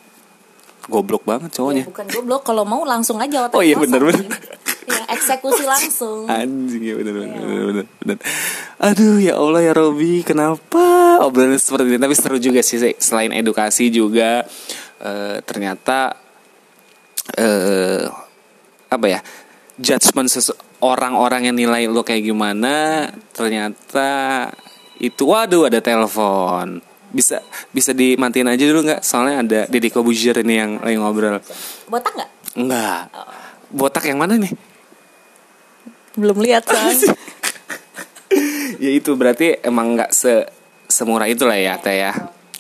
Goblok banget Ya, cowoknya. bukan goblok kalau mau langsung aja otak Oh iya, kosong. bener-bener. Iya, eksekusi langsung. Anjing ya bener bener, bener, bener, bener. Aduh ya Allah ya Robi Kenapa obrolan seperti ini Tapi seru juga sih Se- Selain edukasi juga eh, Ternyata eh Apa ya Judgment sese- orang-orang yang nilai lo kayak gimana Ternyata Itu waduh ada telepon Bisa bisa dimatiin aja dulu nggak Soalnya ada Deddy Kobuzier ini yang lagi ngobrol Botak nggak? Enggak Botak yang mana nih Belum lihat kan. ya itu berarti emang nggak se semurah itulah ya teh ya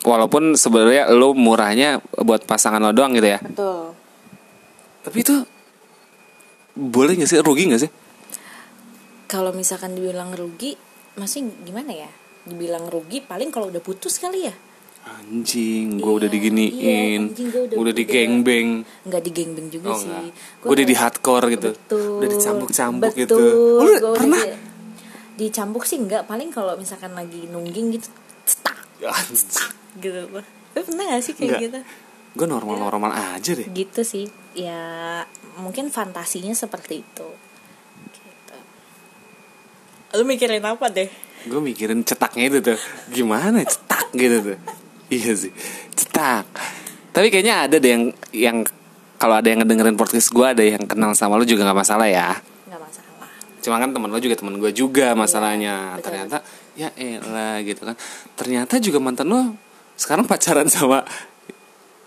walaupun sebenarnya lo murahnya buat pasangan lo doang gitu ya Betul. tapi itu boleh nggak sih rugi nggak sih Kalau misalkan dibilang rugi, masih gimana ya? Dibilang rugi paling kalau udah putus kali ya. anjing gue udah Iya, diginiin iya, anjing, gua gue udah- udah udah- digengbeng Nggak digengbeng Oh, juga sih. nggak. Gua Gua udah kayak- di hardcore gitu. Betul. Udah dicambuk-cambuk gitu. Oh, lu Betul. Gua udah pernah? di- dicambuk sih nggak, paling kalau misalkan lagi nungging gitu, stak gitu. Lu pernah gak sih kayak Nggak. gitu? gue normal normal aja deh gitu sih ya mungkin fantasinya seperti itu gitu. lu mikirin apa deh gue mikirin cetaknya itu tuh gimana cetak gitu tuh iya sih cetak tapi kayaknya ada deh yang yang kalau ada yang ngedengerin podcast gue ada yang kenal sama lo juga nggak masalah ya nggak masalah cuma kan teman lo juga teman gue juga masalahnya betul. ternyata ya elah gitu kan ternyata juga mantan lo sekarang pacaran sama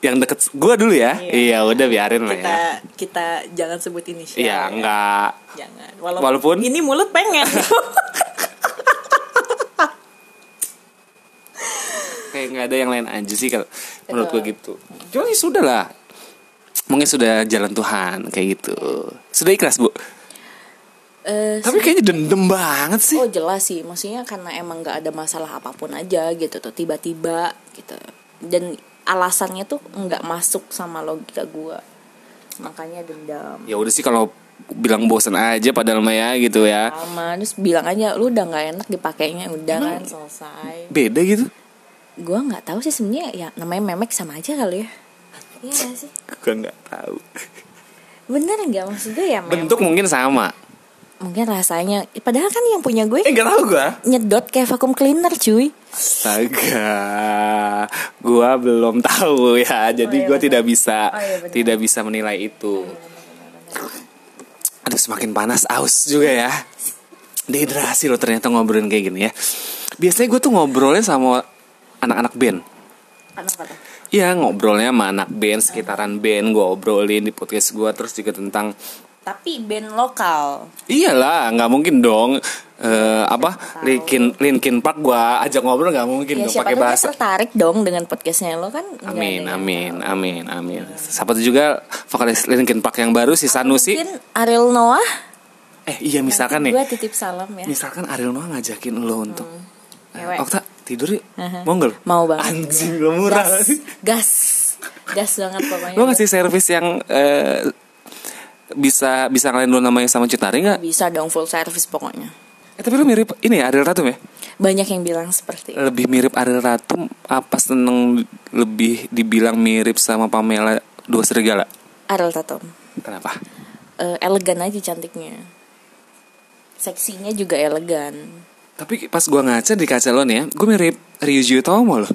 yang deket gue dulu ya iya udah biarin lah kita ya kita jangan sebut ini iya enggak jangan Walaupun- ini mulut pengen kayak nggak ada yang lain aja sih kalau menurut gue gitu cuma ya sudah lah mungkin sudah jalan Tuhan kayak gitu sudah ikhlas bu Eh, tapi kayaknya dendam banget sih oh jelas sih maksudnya karena emang nggak ada masalah apapun aja gitu tuh tiba-tiba gitu dan alasannya tuh nggak masuk sama logika gua makanya dendam ya udah sih kalau bilang bosan aja padahal mah ya gitu ya sama terus bilang aja lu udah nggak enak dipakainya udah kan selesai beda gitu gue nggak tahu sih sebenarnya ya namanya memek sama aja kali ya iya nggak sih gue nggak tahu bener nggak maksud gue ya memek bentuk mungkin sama mungkin rasanya padahal kan yang punya gue eh nggak tahu gue nyedot kayak vakum cleaner cuy astaga gue belum tahu ya jadi iya, gue benar. tidak bisa Oh, iya, benar. tidak bisa menilai itu aduh semakin panas aus juga ya dehidrasi lo ternyata ngobrolin kayak gini ya biasanya gue tuh ngobrolnya sama anak-anak band kenapa tuh Iya ngobrolnya sama anak band sekitaran band gue obrolin di podcast gue terus juga tentang tapi band lokal iyalah nggak mungkin dong eh, apa Linkin Linkin Park gue ajak ngobrol nggak mungkin ya dong siapa Iya, pakai tuh dia bahasa tertarik dong dengan podcastnya lo kan nggak Amin, ada yang- amin, amin, amin. Siapa tuh juga vokalis Linkin Park yang baru si Sanusi. mungkin Ariel Noah eh iya misalkan nih gue titip salam ya misalkan Ariel Noah ngajakin lo untuk eh, Ngewek. Okta tidur yuk Aha. mau nggak lo? Mau banget. anjing lo murah gas gas gas banget pokoknya lo ngasih servis yang eh, bisa bisa ngalahin lo namanya sama Cut Nari nggak bisa dong full service pokoknya eh, tapi lo mirip ini ya Ariel Tatum ya banyak yang bilang seperti itu lebih mirip Ariel Tatum apa seneng lebih dibilang mirip sama Pamela dua serigala Ariel Tatum kenapa Eh, elegan aja cantiknya seksinya juga elegan tapi pas gua ngaca di kaca lo nih ya gue mirip Ryuji Utomo loh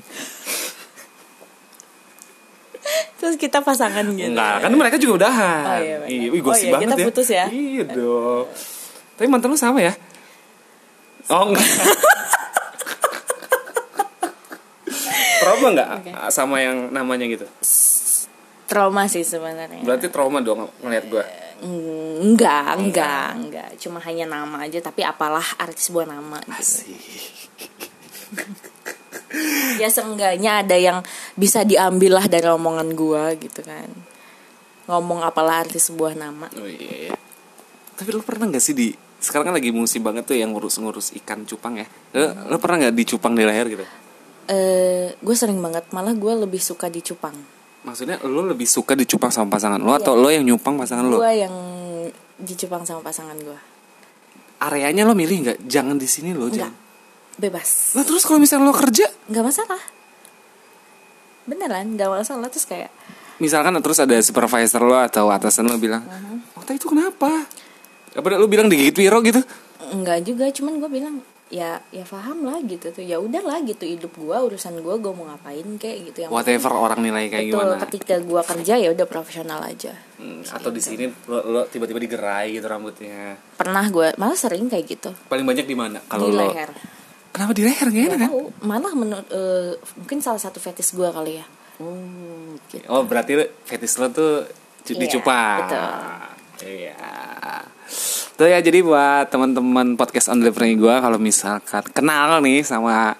terus kita pasangan gitu Enggak, kan mereka juga udahan. Oh, iya, benar. wih, gosip Oh, iya, banget kita ya. putus ya. Iya dong. Tapi mantan lu sama ya? Oh enggak. trauma enggak Ah, sama yang namanya gitu? trauma sih sebenarnya Berarti Iya. trauma dong ngeliat gua. Mm, enggak enggak enggak cuma hanya nama aja tapi apalah arti sebuah nama gitu. ya seenggaknya ada yang bisa diambil lah dari omongan gua gitu kan ngomong apalah arti sebuah nama Oh iya, iya. Tapi lu pernah gak sih di sekarang kan lagi musim banget tuh yang ngurus-ngurus ikan cupang ya. Lu, lu pernah nggak dicupang di leher gitu? eh gue sering banget malah gue lebih suka di Cupang Maksudnya lu lebih suka dicupang sama pasangan Iya. lu atau lu yang nyupang pasangan lu? gue yang di Cupang sama pasangan gue Areanya lu milih nggak? Jangan di sini lo, enggak jangan. bebas Lah terus kalau misalnya lo kerja, nggak masalah beneran nggak masalah terus kayak misalkan terus ada supervisor lo atau atasan lo bilang, Mhm. oh tadi itu kenapa? Apa lo bilang digigit Wiro gitu? Iya. enggak juga cuman gue bilang ya ya paham lah gitu tuh ya udahlah gitu hidup gue urusan gue gue mau ngapain kayak gitu yang Whatever orang nilai kayak betul gimana? ketika gue kerja ya udah profesional aja Hmm, atau di sini lo, lo tiba-tiba digerai gitu rambutnya. pernah gue malah sering kayak gitu Paling banyak di mana? Kalau di lo leher kenapa di leher gak enak kan? tahu malah menurut eh, mungkin salah satu fetish gue kali ya Oh berarti lo- fetis lo tuh cu- Iya, dicupang. betul. Iya. Tuh ya jadi buat teman-teman podcast on delivery gue kalau misalkan kenal nih sama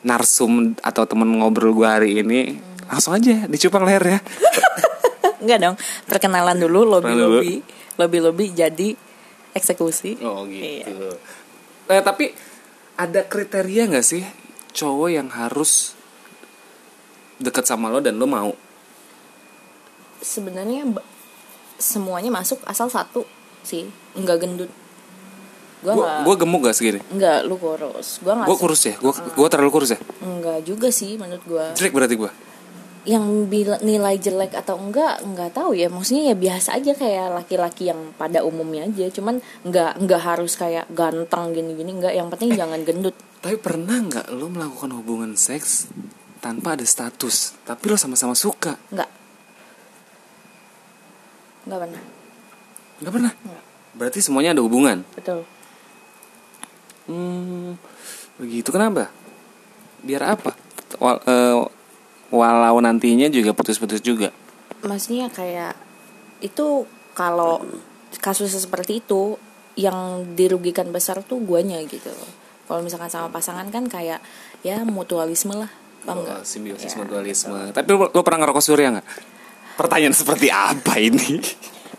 narsum atau temen ngobrol gue hari ini langsung aja dicupang leher ya. Enggak dong, perkenalan dulu dulu. lobby-lobby. Lobby-lobby jadi eksekusi. Oh gitu. Eh, Iya. tapi ada kriteria nggak sih cowok yang harus deket sama lo dan lo mau? Sebenarnya ba- semuanya masuk asal satu sih, enggak gendut. Gua enggak Gue gemuk gak segini? enggak lu kurus. Gua enggak Gue kurus ya? Gue gua terlalu kurus ya? enggak juga sih menurut gua. Jelek berarti gue? Yang bila- nilai jelek atau enggak enggak tahu ya. Maksudnya ya biasa aja kayak laki-laki yang pada umumnya aja, cuman enggak enggak harus kayak ganteng gini-gini enggak, yang penting jangan gendut. Tapi pernah nggak lo melakukan hubungan seks tanpa ada status, tapi lo sama-sama suka? Enggak. Enggak pernah. Nggak pernah. Berarti semuanya ada hubungan. Betul. Hmm, begitu kenapa? Biar apa? Wal- eh, walau nantinya juga putus-putus juga. maksudnya kayak itu kalau kasusnya seperti itu yang dirugikan besar tuh guanya gitu kalau misalkan sama pasangan kan kayak ya mutualisme lah Oh, paham nggak simbiosis mutualisme. Tapi lo, lo pernah ngerokok surya nggak? Pertanyaan seperti apa ini?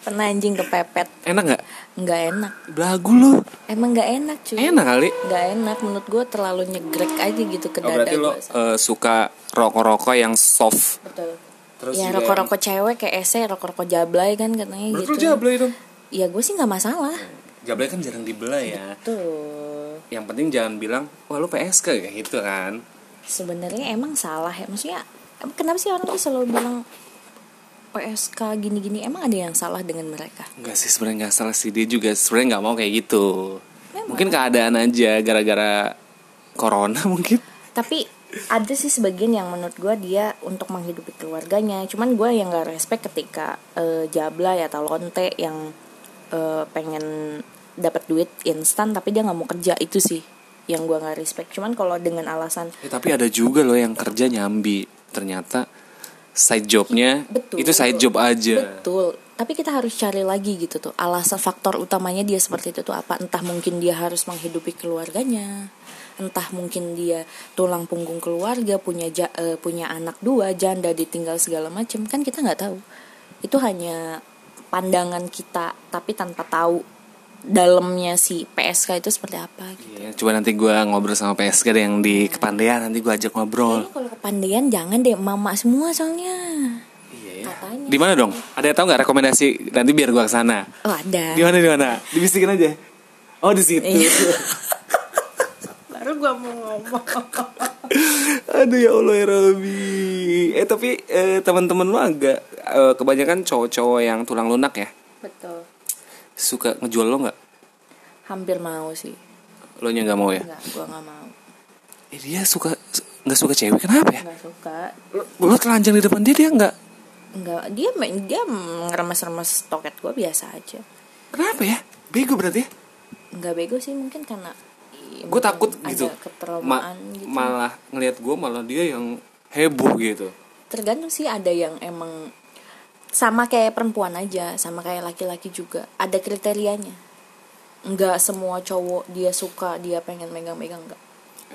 pernah anjing kepepet Enak nggak? nggak enak Belagu lo. emang nggak enak cuy Enak kali. nggak enak menurut gue terlalu nyegrek aja gitu Oh, ke dada berarti lo gua. eh, suka rokok-rokok yang soft. betul Terus ya juga rokok-rokok cewek kayak ese rokok-rokok jablay kan katanya Berarti gitu lo jablay dong. ya gue sih nggak masalah Jablay kan jarang dibelah ya. tuh yang penting jangan bilang wah lu PSK kayak gitu kan sebenarnya emang salah ya maksudnya em- kenapa sih orang tuh selalu bilang PSK gini-gini emang ada yang salah dengan mereka Enggak sih sebenarnya nggak salah sih dia juga sebenarnya nggak mau kayak gitu Memang. mungkin keadaan aja gara-gara corona mungkin tapi ada sih sebagian yang menurut gue dia untuk menghidupi keluarganya cuman gue yang gak respect ketika eh, jablay atau lonte yang eh, pengen dapat duit instan tapi dia nggak mau kerja itu sih yang gue nggak respect cuman kalau dengan alasan Eh, tapi ada juga loh yang kerja nyambi ternyata side jobnya Iya, Betul. itu side job aja Betul. Tapi kita harus cari lagi gitu tuh alasan faktor utamanya dia seperti itu tuh apa? Entah mungkin dia harus menghidupi keluarganya, entah mungkin dia tulang punggung keluarga punya ja- eh, punya anak dua janda ditinggal segala macam kan kita nggak tahu. Itu hanya pandangan kita tapi tanpa tahu dalamnya si PSK itu seperti apa gitu. Iya, coba nanti gue ngobrol sama PSK deh yang di kepandean nanti gue ajak ngobrol. Kayaknya kalau kepandian jangan deh mama semua soalnya. Iya. Katanya. Di mana dong? Ada yang tahu nggak rekomendasi nanti biar gue kesana. Oh ada. Di mana di mana? Dibisikin aja. Oh di situ. Iya. Baru gua mau ngomong. Aduh ya Allah ya Rabbi. Eh tapi eh, teman-teman lu agak eh, kebanyakan cowok-cowok yang tulang lunak ya Betul. suka ngejual lo nggak? Hampir mau sih. Lo nya nggak mau ya? Enggak, gua nggak mau. Eh, dia suka nggak suka cewek kenapa ya? Enggak suka. Lo, lo telanjang di depan dia dia nggak? Enggak, dia main dia ngeremes-remes toket gua biasa aja. Kenapa ya? Bego berarti ya? Enggak bego sih mungkin karena i- Gue mungkin takut gitu. Ada Ma- ketraumaan gitu. Malah ngelihat gue malah dia yang heboh gitu. tergantung sih ada yang emang sama kayak perempuan aja sama kayak laki-laki juga ada kriterianya nggak semua cowok dia suka dia pengen megang-megang nggak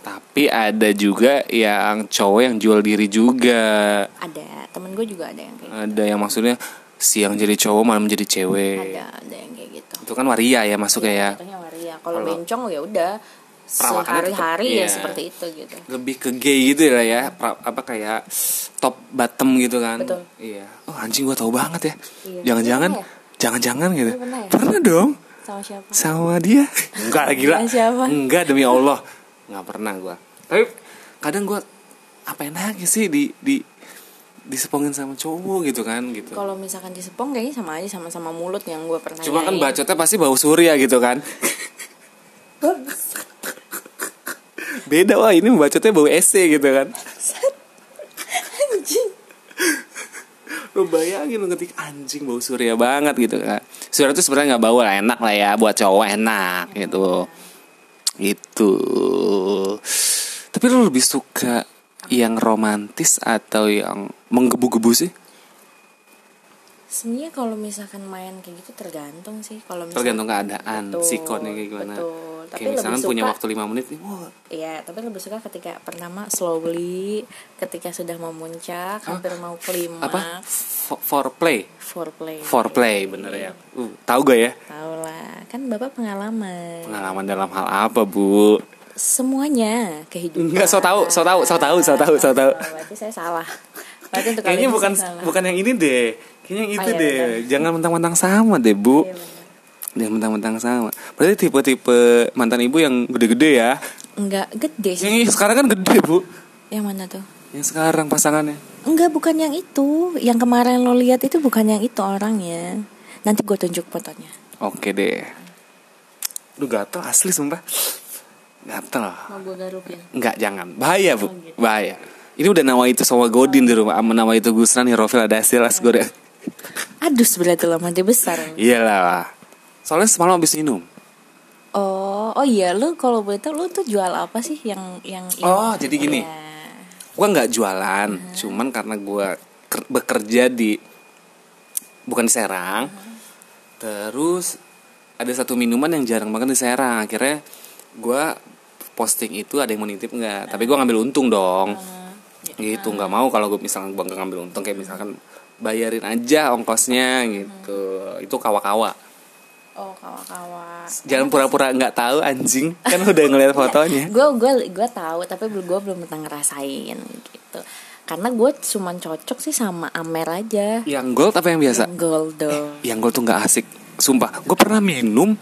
Tapi ada juga yang cowok yang jual diri juga. ada temen gue juga ada yang kayak Ada yang maksudnya siang jadi cowok malam jadi cewek. ada Iya, ada yang kayak gitu Itu kan waria ya masuknya ya. Contohnya waria kalau Kalau- bencong ya udah Perawakannya tetap- sehari-hari iya. ya seperti itu gitu Lebih ke gay gitu ya ya. Pra- apa kayak top bottom gitu kan. Betul. Iya. Oh anjing gua tahu banget ya. Iya. Jangan-jangan Pernah jangan-jangan gitu. Lu pernah ya? Pernah dong sama siapa sama dia. Enggak gila. Dengan siapa? Enggak demi Allah. Enggak pernah gua. Tapi kadang gua apa enaknya sih di di disepongin sama cowok gitu kan gitu. kalau misalkan di Sepong kayaknya sama aja sama-sama mulut yang gue pernah Cuma kan bacotnya pasti bau surya gitu kan. Beda wah ini bacotnya bau SC gitu kan. anjing Lu bayangin lu ngetik anjing bau surya banget gitu kan. Surya tuh sebenarnya nggak bau lah enak lah ya buat cowok enak gitu. Gitu. Tapi lu lebih suka yang romantis atau yang menggebu-gebu sih? Sebenarnya kalau misalkan main kayak gitu tergantung sih kalau misalkan- Tergantung keadaan, Betul, sikonnya kayak gimana. Betul. Tapi Kayak misalkan lebih suka, punya waktu 5 menit nih, wah Iya, tapi lebih suka ketika pertama slowly, ketika sudah memuncak, hampir mau kelima. apa? Fo- Foreplay. Foreplay. Foreplay bener ya. Iya. Uh, tahu gak ya? Tahu lah, kan Bapak pengalaman. Pengalaman dalam hal apa, Bu? Semuanya kehidupan. Enggak, so tahu, so tahu, so tahu, so tahu, so tahu. Oh, Berarti saya salah. Berarti untuk kali Kayaknya ini bukan saya salah. bukan yang ini deh. Kayaknya yang itu iya, deh. bener. Jangan mentang-mentang sama deh, Bu. Iya, bener. Jangan mentang-mentang sama. Berarti tipe-tipe mantan ibu yang gede-gede ya. Enggak gede sih. Yang sekarang kan gede, Bu. Yang mana tuh? Yang sekarang pasangannya. Enggak, bukan yang itu. Yang kemarin lo lihat itu bukan yang itu orangnya. Nanti gue tunjuk fotonya. Oke deh. Lu gatel asli sumpah. Gatel. Mau gue garuk ya? Enggak, jangan. Bahaya, Bu. Bahaya. Ini udah nawa itu sama Godin di rumah, sama nawa itu Gusran, Hirofil, ada silas goreng. Aduh sebelah tulang mati besar. Iyalah. Soalnya semalam habis minum. Oh, oh iya lu kalau boleh tahu lu tuh jual apa sih yang yang yang- Oh, jadi gini. Iya. Gua nggak jualan, cuman karena gua ker- bekerja di bukan di Serang. Terus ada satu minuman yang jarang banget di Serang. Akhirnya gua posting itu ada yang mau nitip nggak? Tapi gua ngambil untung dong. Gitu nggak mau kalau gue misalkan gua nggak ngambil untung kayak misalkan bayarin aja ongkosnya gitu. Itu kawa-kawa. Oh, kawa-kawa. Jangan pura-pura nggak tahu anjing, kan udah ngeliat fotonya. Gue gue gue tahu tapi belum gue belum pernah ngerasain gitu. Karena gue cuman cocok sih sama Amer aja. Yang gold apa yang biasa? Gold dong. Yang gold tuh nggak asik. Sumpah, gue pernah minum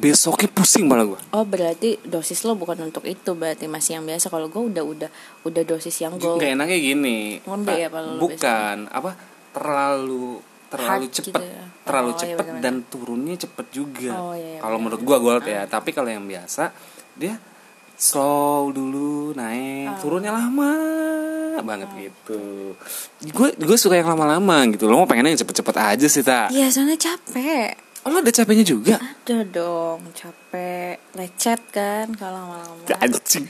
besoknya pusing malah gue. Oh berarti dosis lo bukan untuk itu berarti masih yang biasa kalau gue udah udah udah dosis yang gold Gak enaknya gini. Ngombe Pak. ya kalau lu Bukan apa terlalu terlalu Hard cepet gitu ya. terlalu Oh, iya, cepet benar-benar. dan turunnya cepet juga. Oh, iya, Ah. iya, kalau benar. menurut gue gold ya, tapi kalau yang biasa dia slow dulu Ah. naik, turunnya lama banget gitu. Gue gue suka yang lama-lama gitu. Lo mau pengennya yang cepet-cepet aja sih ta? Iya soalnya capek Oh, lo ada capeknya juga? Ada dong, capek lecet kan kalau lama-lama. Anjing.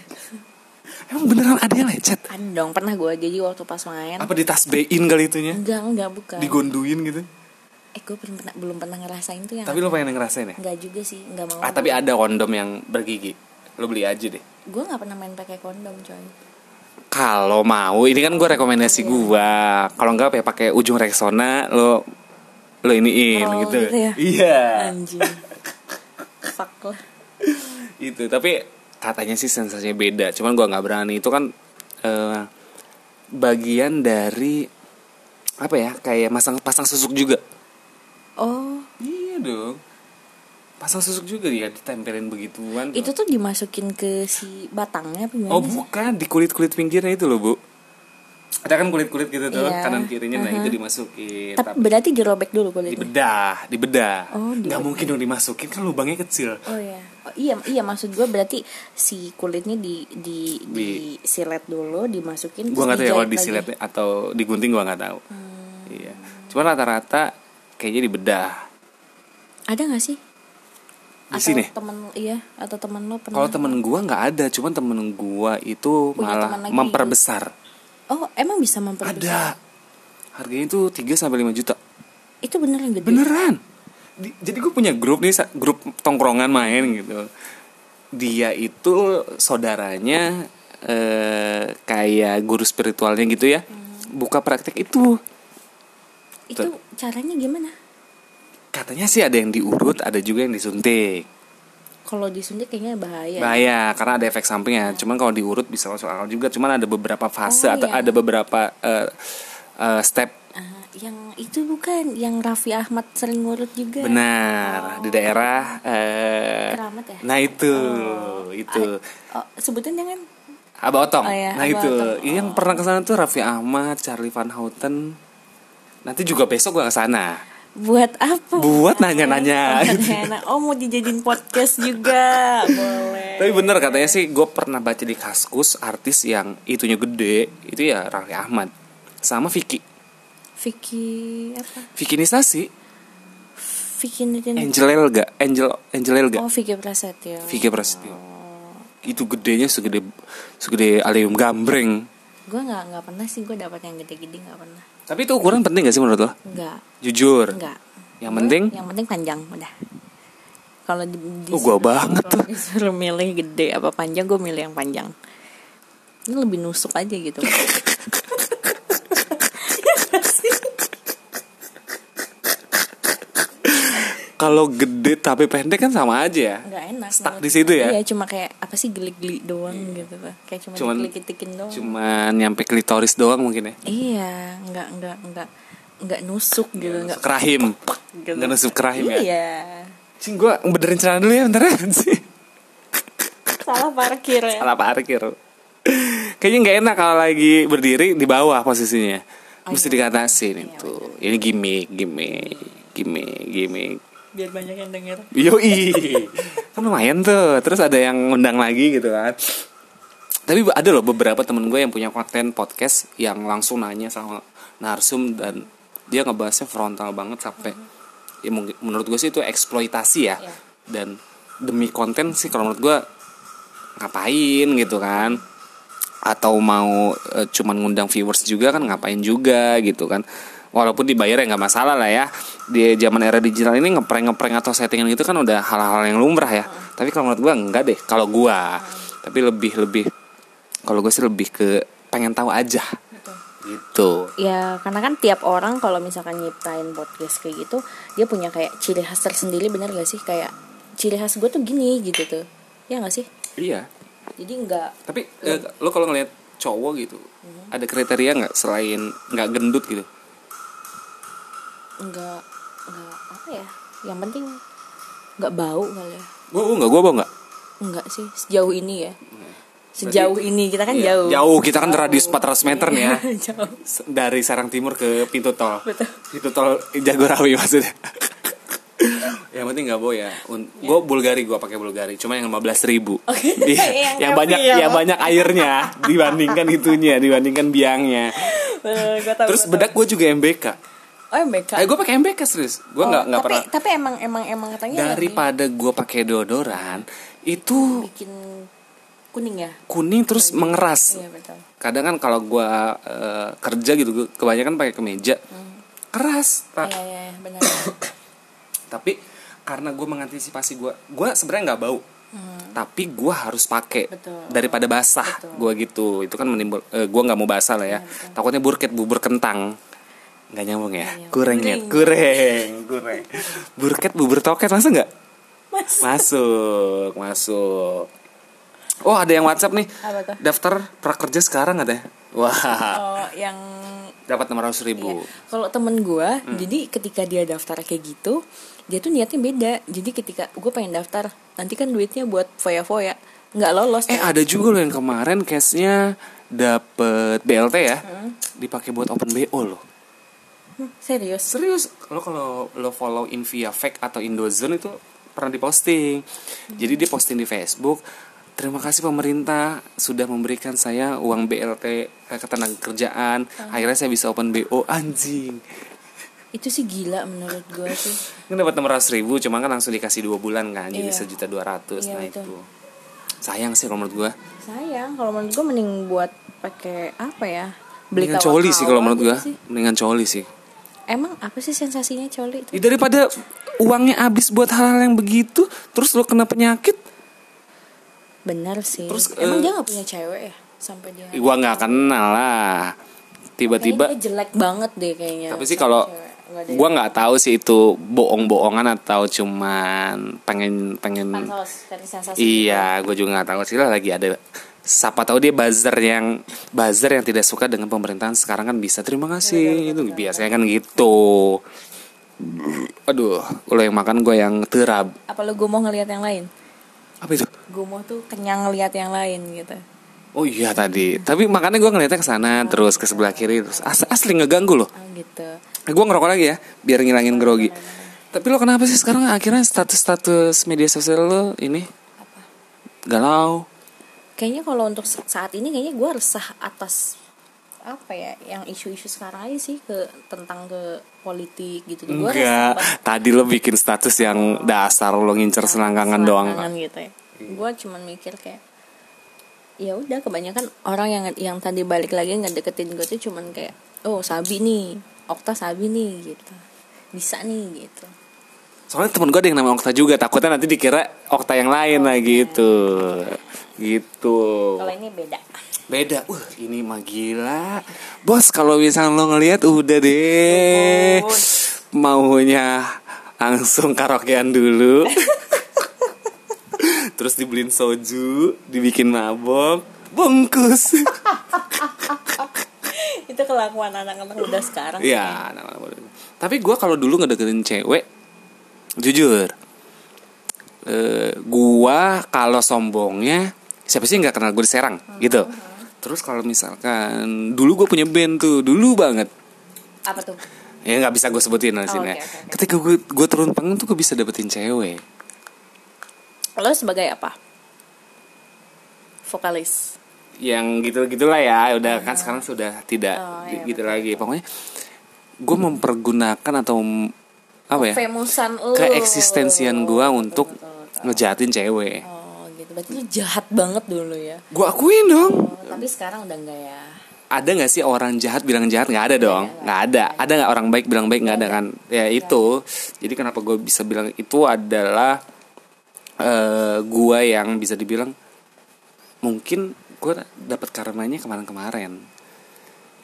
Emang beneran ada yang lecet? Ada Kan dong, pernah gue jadi waktu pas main. Apa ditasbein kali itunya? Enggak, enggak bukan. Digonduin gitu? eh gue belum pernah belum pernah ngerasain tuh yang. Tapi lo pengen ngerasain ya? Enggak juga sih, enggak mau. Ah, tapi ada kondom yang bergigi. Lo beli aja deh. Gue nggak pernah main pakai kondom Eh. coy. Kalau mau, ini kan gue rekomendasi gua. Kalau enggak ya pakai ujung Rexona lo lo iniin Roll gitu. gitu ya? Iya. Anjing. rusak lah itu tapi katanya sih sensasinya beda cuman gua nggak berani itu kan eh, bagian dari apa ya kayak masang pasang susuk juga oh iya dong pasang susuk juga ya ditempelin begituan itu tuh dimasukin ke si batangnya apa gimana oh sih? bukan di kulit kulit pinggirnya itu loh bu ada kan kulit kulit gitu tuh Iya. kanan kirinya nah Uh-huh. itu dimasukin tapi berarti dirobek dulu kulitnya dibedah dibedah Oh, dibedah. nggak mungkin dong dimasukin kan lubangnya kecil Oh iya. Oh, iya, iya maksud gue berarti si kulitnya di di Di- disilet dulu, dimasukin gua nggak tahu ya kalau dijahit disilet lagi. Hmm. atau digunting gua nggak tahu iya cuman rata-rata kayaknya dibedah Ada nggak sih? di atau sini Temen iya atau temen lo pernah? kalau temen gua nggak ada cuman temen gua itu Punya malah teman lagi. memperbesar Oh, emang bisa memperbesar. ada harganya itu 3 sampai 5 juta Itu bener yang gede. beneran Di- jadi gue punya grup nih sa- grup tongkrongan main gitu dia itu saudaranya eh, kayak guru spiritualnya gitu ya Hmm. buka praktek itu Itu caranya gimana? katanya sih ada yang diurut ada juga yang disuntik Kalau disuntik kayaknya bahaya. bahaya karena ada efek sampingnya cuman kalau diurut bisa masuk akal juga cuman ada beberapa fase Iya. Oh, atau iya. ada beberapa eh, eh, step Ah, yang itu bukan yang Raffi Ahmad sering ngurut juga. benar di daerah eh, Keramat ya? nah itu Oh. itu Oh, sebutin jangan. Abah Otong. Oh iya, nah Abah itu. Otong. Iya, Yang pernah ke sana tuh Raffi Ahmad, Charlie Van Houten. Nanti juga besok gua ke sana. Buat apa? Buat nanya-nanya. Buat enak. Oh, mau dijadiin podcast juga. Boleh. Tapi bener katanya sih gue pernah baca di Kaskus artis yang itunya gede itu ya Raffi Ahmad sama Vicky. Vicky apa? Vicky Nisasi, Vicky Nitin. Angel Elga, Angel Angel Elga, Oh, Vicky Prasetyo. Vicky Prasetyo. Itu gedenya segede segede alium gambreng. Gue nggak nggak pernah sih gue dapat yang gede-gede nggak pernah. Tapi itu ukuran penting gak sih menurut lo? Nggak Jujur. nggak. Yang Gua- penting Yang penting panjang udah. Kalau di, di Oh, gua banget tuh. Disuruh milih gede apa panjang gue milih yang panjang. Ini lebih nusuk aja gitu. kalau gede tapi pendek kan sama aja ya. nggak enak. Stuck menurut di situ ya? gua. Iya. Iya cuma kayak apa sih gelik-gelik doang gitu tuh. Kayak cuma Cuman- digelik-gelikin doang. Cuman nyampe klitoris doang mungkin ya. Iya nggak nggak nggak nggak nusuk gitu nggak. Kerahim. gitu. Enggak nusuk Iya, kerahim ya. Iya. Cing gua benerin celana dulu ya bentar ya. Cing. Salah parkir ya. Salah parkir. Kayaknya nggak enak kalau lagi berdiri di bawah posisinya. Mesti dikatasin itu. Ini gimmick, gimmick, gimmick, gimmick. biar banyak yang denger Yoi. kan lumayan tuh. Terus ada yang ngundang lagi gitu kan. Tapi ada loh beberapa temen gue yang punya konten podcast yang langsung nanya sama narsum dan dia ngebahasnya frontal banget sampai ya mungkin- menurut gue sih itu eksploitasi ya. Iya. Dan demi konten sih kalau menurut gue ngapain gitu kan atau mau eh, cuman ngundang viewers juga kan ngapain juga gitu kan walaupun dibayar ya nggak masalah lah ya di zaman era digital ini ngeprank ngeprank atau settingan itu kan udah hal-hal yang lumrah ya tapi kalau menurut gua enggak deh kalau gua tapi lebih lebih kalau gue sih lebih ke pengen tahu aja gitu ya karena kan tiap orang kalau misalkan nyiptain podcast kayak gitu dia punya kayak ciri khas tersendiri bener gak sih kayak ciri khas gue tuh gini gitu tuh ya gak sih iya jadi nggak tapi eh, lo kalau ngelihat cowok gitu ada kriteria nggak selain nggak gendut gitu nggak nggak apa ya yang penting nggak bau kali ya gua gua nggak gua apa nggak nggak sih sejauh ini ya sejauh ini kita kan Iya, jauh Iya. jauh. Kita kan radius 400 meter nih ya. jauh S- dari Sarang Timur ke pintu tol. Pintu tol Jagorawi maksudnya. yang penting nggak boy ya. Iya. Gue Bulgari gue pakai Bulgari. Cuma yang 15.000 ribu. Iya. Yang yang, tapi banyak ya, yang Bang. banyak airnya dibandingkan itunya, dibandingkan biangnya. Eh, Terus bedak gue juga MBK. oh MBK Eh gue pakai MBK serius. Gue nggak nggak tapi pernah. tapi emang emang emang katanya lebih Daripada gue pakai deodoran itu bikin kuning ya kuning terus mengeras. iya betul kadang kan kalau gua eh, kerja gitu gua kebanyakan pakai kemeja keras Ta- Iya iya iya, benar. tapi karena gua mengantisipasi gua gua sebenarnya nggak bau Hmm, tapi gua harus pakai Betul. daripada basah gua gitu itu kan menimbul eh, gua nggak mau basah Iya, lah ya takutnya burket bubur kentang nggak nyambung ya kurang ya kurang kurang burket bubur toket masa nggak Mas, masuk masuk oh ada yang WhatsApp nih Apa tuh? daftar prakerja sekarang ada ya? wah Oh, yang iya. dapat enam ratus ribu kalau temen gue, Hmm. jadi ketika dia daftar kayak gitu, dia tuh niatnya beda. Jadi ketika gue pengen daftar, nanti kan duitnya buat foya-foya, nggak lolos. eh ada juga loh yang kemarin case-nya dapet BLT ya dipakai buat open BO loh Serius? serius lo kalau lo follow Invia Fake atau Indozone itu pernah diposting jadi dia posting di Facebook terima kasih pemerintah sudah memberikan saya uang BLT eh, ketenagakerjaan Ah. akhirnya saya bisa open BO anjing Itu sih gila menurut gue sih. ini dapat enam ribu cuma kan langsung dikasih dua bulan kan jadi Iya. sejuta dua ratus Iya, nah itu betul. sayang sih kalau menurut gua Sayang, kalau menurut gue mending buat pakai apa ya? mendingan coli sih kalau kawan-kawan menurut gua gitu sih. mendingan coli sih Emang apa sih sensasinya coli itu? Ih, daripada uangnya habis buat hal-hal yang begitu terus lo kena penyakit Benar sih. Terus, Emang eh, dia nggak punya cewek ya sampai dia. Ih, gua nggak kenal lah Kayaknya tiba-tiba dia jelek banget deh kayaknya. tapi sih sama kalau cewek. Nggak deh. gua nggak tahu sih itu bohong-bohongan atau cuman pengen pengen Pansos, cari Kan Hmm. sensasi. iya gue juga nggak tahu sih lah lagi ada siapa tahu dia buzzer yang buzzer yang tidak suka dengan pemerintahan sekarang kan bisa terima kasih itu biasanya kan gitu aduh lo yang makan gue yang terab Apa lu mau ngelihat yang lain? apa itu Gumoh tuh kenyang ngelihat yang lain gitu. oh iya tadi tapi makanya gue ngeliatnya ke sana terus ke sebelah kiri terus as- asli ngeganggu loh Ah gitu. gue ngerokok lagi ya biar ngilangin grogi tapi lo kenapa sih sekarang akhirnya status-status media sosial lo ini galau Kayaknya kalau untuk sa- saat ini kayaknya gue resah atas apa ya yang isu-isu sekarang aja sih ke tentang ke politik gitu gue resah banget. enggak tadi lo bikin status yang dasar lo ngincer selangkangan doang Iya. Selangkangan gitu ya gue cuman mikir kayak ya udah kebanyakan orang yang yang tadi balik lagi ngedeketin gue tuh cuman kayak oh sabi nih okta sabi nih gitu bisa nih gitu soalnya temen gue ada yang namanya Okta juga takutnya nanti dikira Okta yang lain lah gitu gitu kalau ini beda beda uh ini mah gila bos kalau misalnya lo ngelihat udah deh Ampun. maunya langsung karaokean dulu terus dibeliin soju dibikin mabok bungkus itu kelakuan anak-anak muda sekarang ya nah, nah, nah. tapi gua kalau dulu ngedeketin cewek jujur eh, gua kalau sombongnya siapa sih yang nggak kenal gue di Serang gitu terus kalau misalkan dulu gue punya band tuh dulu banget apa tuh ya nggak bisa gue sebutin di Oh, sini ya. oke, oke, oke. ketika gue gue turun panggung tuh gue bisa dapetin cewek lo sebagai apa vokalis yang gitu gitulah ya udah kan sekarang sudah tidak Ah. Oh, di- iya, gitu lagi pokoknya gue mempergunakan atau m- apa ya famusan lo keeksistensian gue untuk betul, betul. ngejahatin cewek oh gitu berarti lo jahat banget dulu ya gue akuin dong Oh, tapi sekarang udah enggak ya ada nggak sih orang jahat bilang jahat nggak ada dong nggak ada ada nggak orang baik bilang baik nggak ada kan ya itu jadi kenapa gue bisa bilang itu adalah eh gue yang bisa dibilang mungkin gue dapat karenanya kemarin-kemarin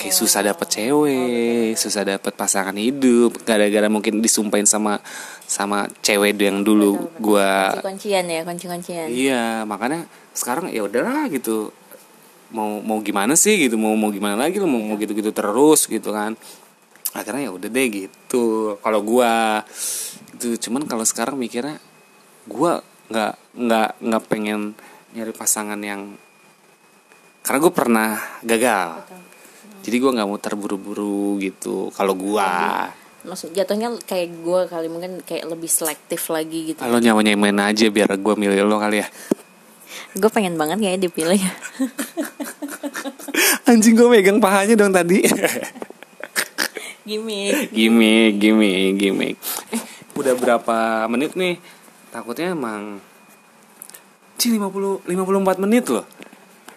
kayak susah dapet cewek susah dapet pasangan hidup gara-gara mungkin disumpahin sama sama cewek yang dulu gue kunci-kuncian ya kunci-kuncian Ah. Iya, makanya sekarang ya udahlah gitu. Mau mau gimana sih gitu, mau mau gimana lagi lu mau mau gitu-gitu terus gitu kan. Akhirnya ya udah deh gitu. Kalau gua itu cuman kalau sekarang mikirnya gua nggak nggak nggak pengen nyari pasangan yang karena gue pernah gagal. Jadi gua nggak mau terburu-buru gitu. Kalau gua iya. maksud jatuhnya kayak gue kali mungkin kayak lebih selektif lagi gitu lo nyawanya main aja biar gua milih lo kali ya. gue pengen banget kayak dipilih Anjing gue megang pahanya dong tadi. gimmick gimmick gimmick gimmick eh udah berapa menit nih takutnya emang Ci 50 54 menit loh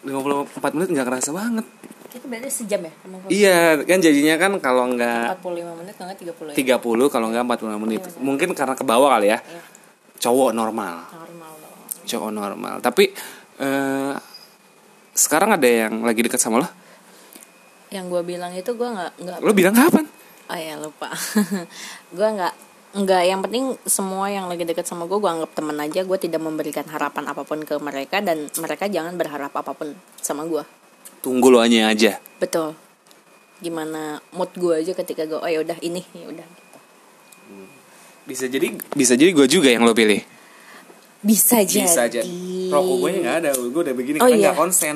54 menit nggak kerasa banget kita berarti sejam ya sama gua? iya kan jadinya kan kalau nggak 45 menit kalau nggak 30 ya 30 kalau nggak 45 menit mungkin karena ke bawah kali ya cowok normal normal dong cowok normal tapi eh, sekarang ada yang lagi dekat sama lo yang gue bilang itu gue nggak nggak lo bilang kapan oh ya lupa gue iya, nggak Enggak, yang penting semua yang lagi deket sama gue, gue anggap temen aja. Gue tidak memberikan harapan apapun ke mereka dan mereka jangan berharap apapun sama gue. Tunggu lo hanya aja. Betul. Gimana mood gue aja ketika gue, oh ya udah ini, ya udah. Bisa jadi bisa jadi gue juga yang lo pilih. Bisa jadi. Bisa aja. Rokok gue nggak ada, gue udah begini Oh, kan iya. nggak konsen.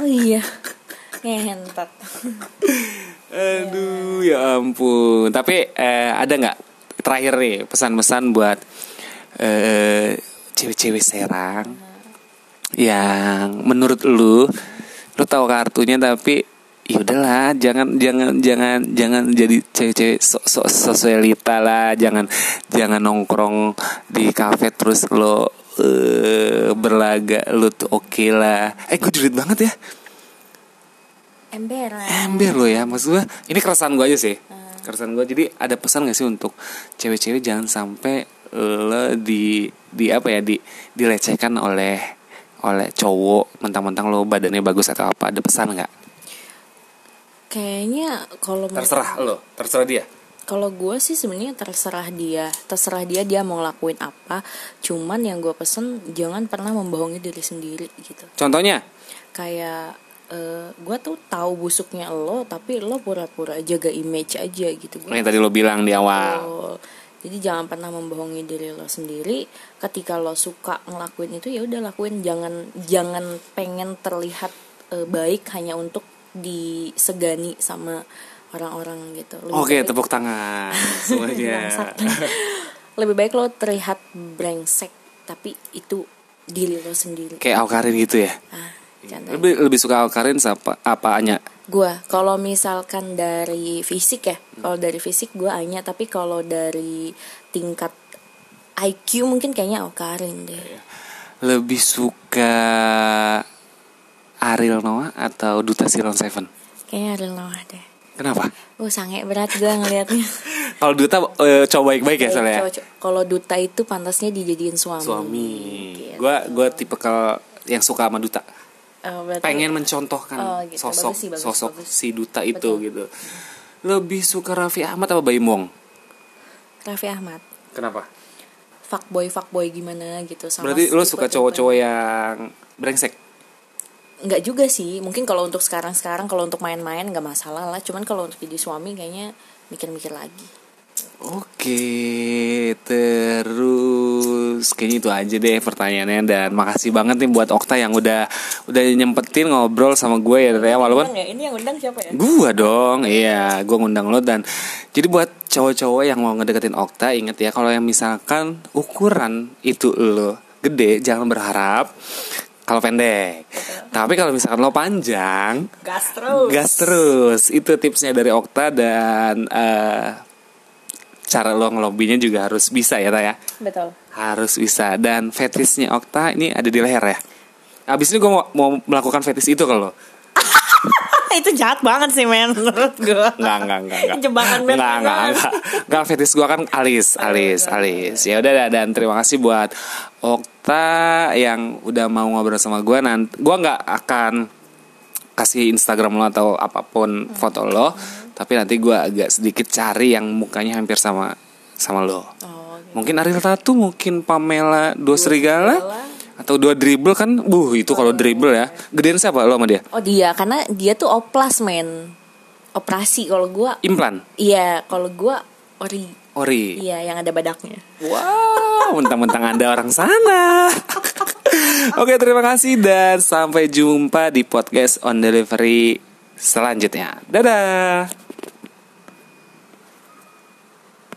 Oh iya. Ngentot. Aduh, ya ampun. Tapi eh, ada nggak terakhir nih pesan-pesan buat eh, cewek-cewek Serang yang menurut lu lu tahu kartunya tapi ya udahlah jangan jangan jangan jangan jadi cewek-cewek sok sok sosialita lah jangan jangan nongkrong di kafe terus lo eh, berlaga lu tuh oke lah eh gue julid banget ya Emberan. ember lo ya maksud gue ini keresahan gue aja sih keresahan gue jadi ada pesan gak sih untuk cewek-cewek jangan sampai lo di di apa ya di dilecehkan oleh oleh cowok mentang-mentang lo badannya bagus atau apa ada pesan nggak Kayaknya kalau menurut- terserah lo terserah dia kalau gue sih sebenarnya terserah dia terserah dia dia mau ngelakuin apa cuman yang gue pesen jangan pernah membohongi diri sendiri gitu contohnya kayak gue tuh tahu busuknya lo tapi lo pura-pura jaga image aja gitu Gua yang tadi lo bilang di awal Betul. Jadi jangan pernah membohongi diri lo sendiri. Ketika lo suka ngelakuin itu ya udah lakuin. Jangan jangan pengen terlihat eh, baik hanya untuk disegani sama orang-orang gitu. Lebih oke baik- tepuk tangan semuanya Bangsat. Iya. Iya. Lebih baik lo terlihat brengsek tapi itu diri lo sendiri. kayak Awkarin gitu ya Ah, canda. lebih lebih suka Awkarin apa apaannya Gua kalau misalkan dari fisik ya, kalau dari fisik gua Anya, tapi kalau dari tingkat IQ mungkin kayaknya Okarin deh. Iya. lebih suka Ariel Noah atau Duta Silon Seven Kayaknya Ariel Noah deh. Kenapa? Uh sange berat gua ngelihatnya. Kalau duta eh, cowok baik-baik ya Kayak soalnya. ya? Iya, cowok-cowok- Kalau duta itu pantasnya dijadiin suami. Suami. Gitu. Gue gue tipe yang suka sama duta. Eh, berarti- Pengen mencontohkan Oh, gitu. sosok Bagus sih, bagus, sosok bagus. si duta itu Betul. gitu. Lebih suka Raffi Ahmad apa Baim Wong? Raffi Ahmad. Kenapa? Fuckboy fuckboy gimana gitu sama Berarti lo tipe-tipe. suka cowok-cowok yang brengsek. nggak juga sih mungkin kalau untuk sekarang sekarang kalau untuk main-main nggak masalah lah cuman kalau untuk jadi suami kayaknya mikir-mikir lagi Oke, terus kayaknya itu aja deh pertanyaannya dan makasih banget nih buat Okta yang udah udah nyempetin ngobrol sama gue ya dari awal walaupun ini yang undang siapa ya Gua dong, iya, gua ngundang lo dan jadi buat cowok-cowok yang mau ngedeketin Okta inget ya kalau yang misalkan ukuran itu lo gede jangan berharap kalau pendek. Tapi kalau misalkan lo panjang, Gastro gas terus. Itu tipsnya dari Okta dan eh, cara lo ngelobinya juga harus bisa ya, Taya. betul Harus bisa dan fetishnya Okta ini ada di leher ya. Abis ini gue mau, mau melakukan fetish itu kalau itu jahat banget sih men menurut gue Enggak, enggak, enggak, enggak. Jebakan Batman. Enggak, enggak, enggak. Enggak, fetish gua kan alis, alis, alis. Ya udah dah, dan terima kasih buat Okta yang udah mau ngobrol sama gua nanti gua nggak akan kasih Instagram lo atau apapun foto lo, tapi nanti gua agak sedikit cari yang mukanya hampir sama sama lo. oh, gitu. Mungkin Ariel Tatu, mungkin Pamela Dua Serigala Serigala. atau dua dribble kan, buh itu kalau dribble ya. Gedean siapa lo sama dia? oh dia karena dia tuh oplas men operasi kalau gue Implan, iya kalau gue ori ori. iya yang ada badaknya Wow, mentang-mentang Anda orang sana. Oke, terima kasih dan sampai jumpa di podcast on delivery selanjutnya. Dadah.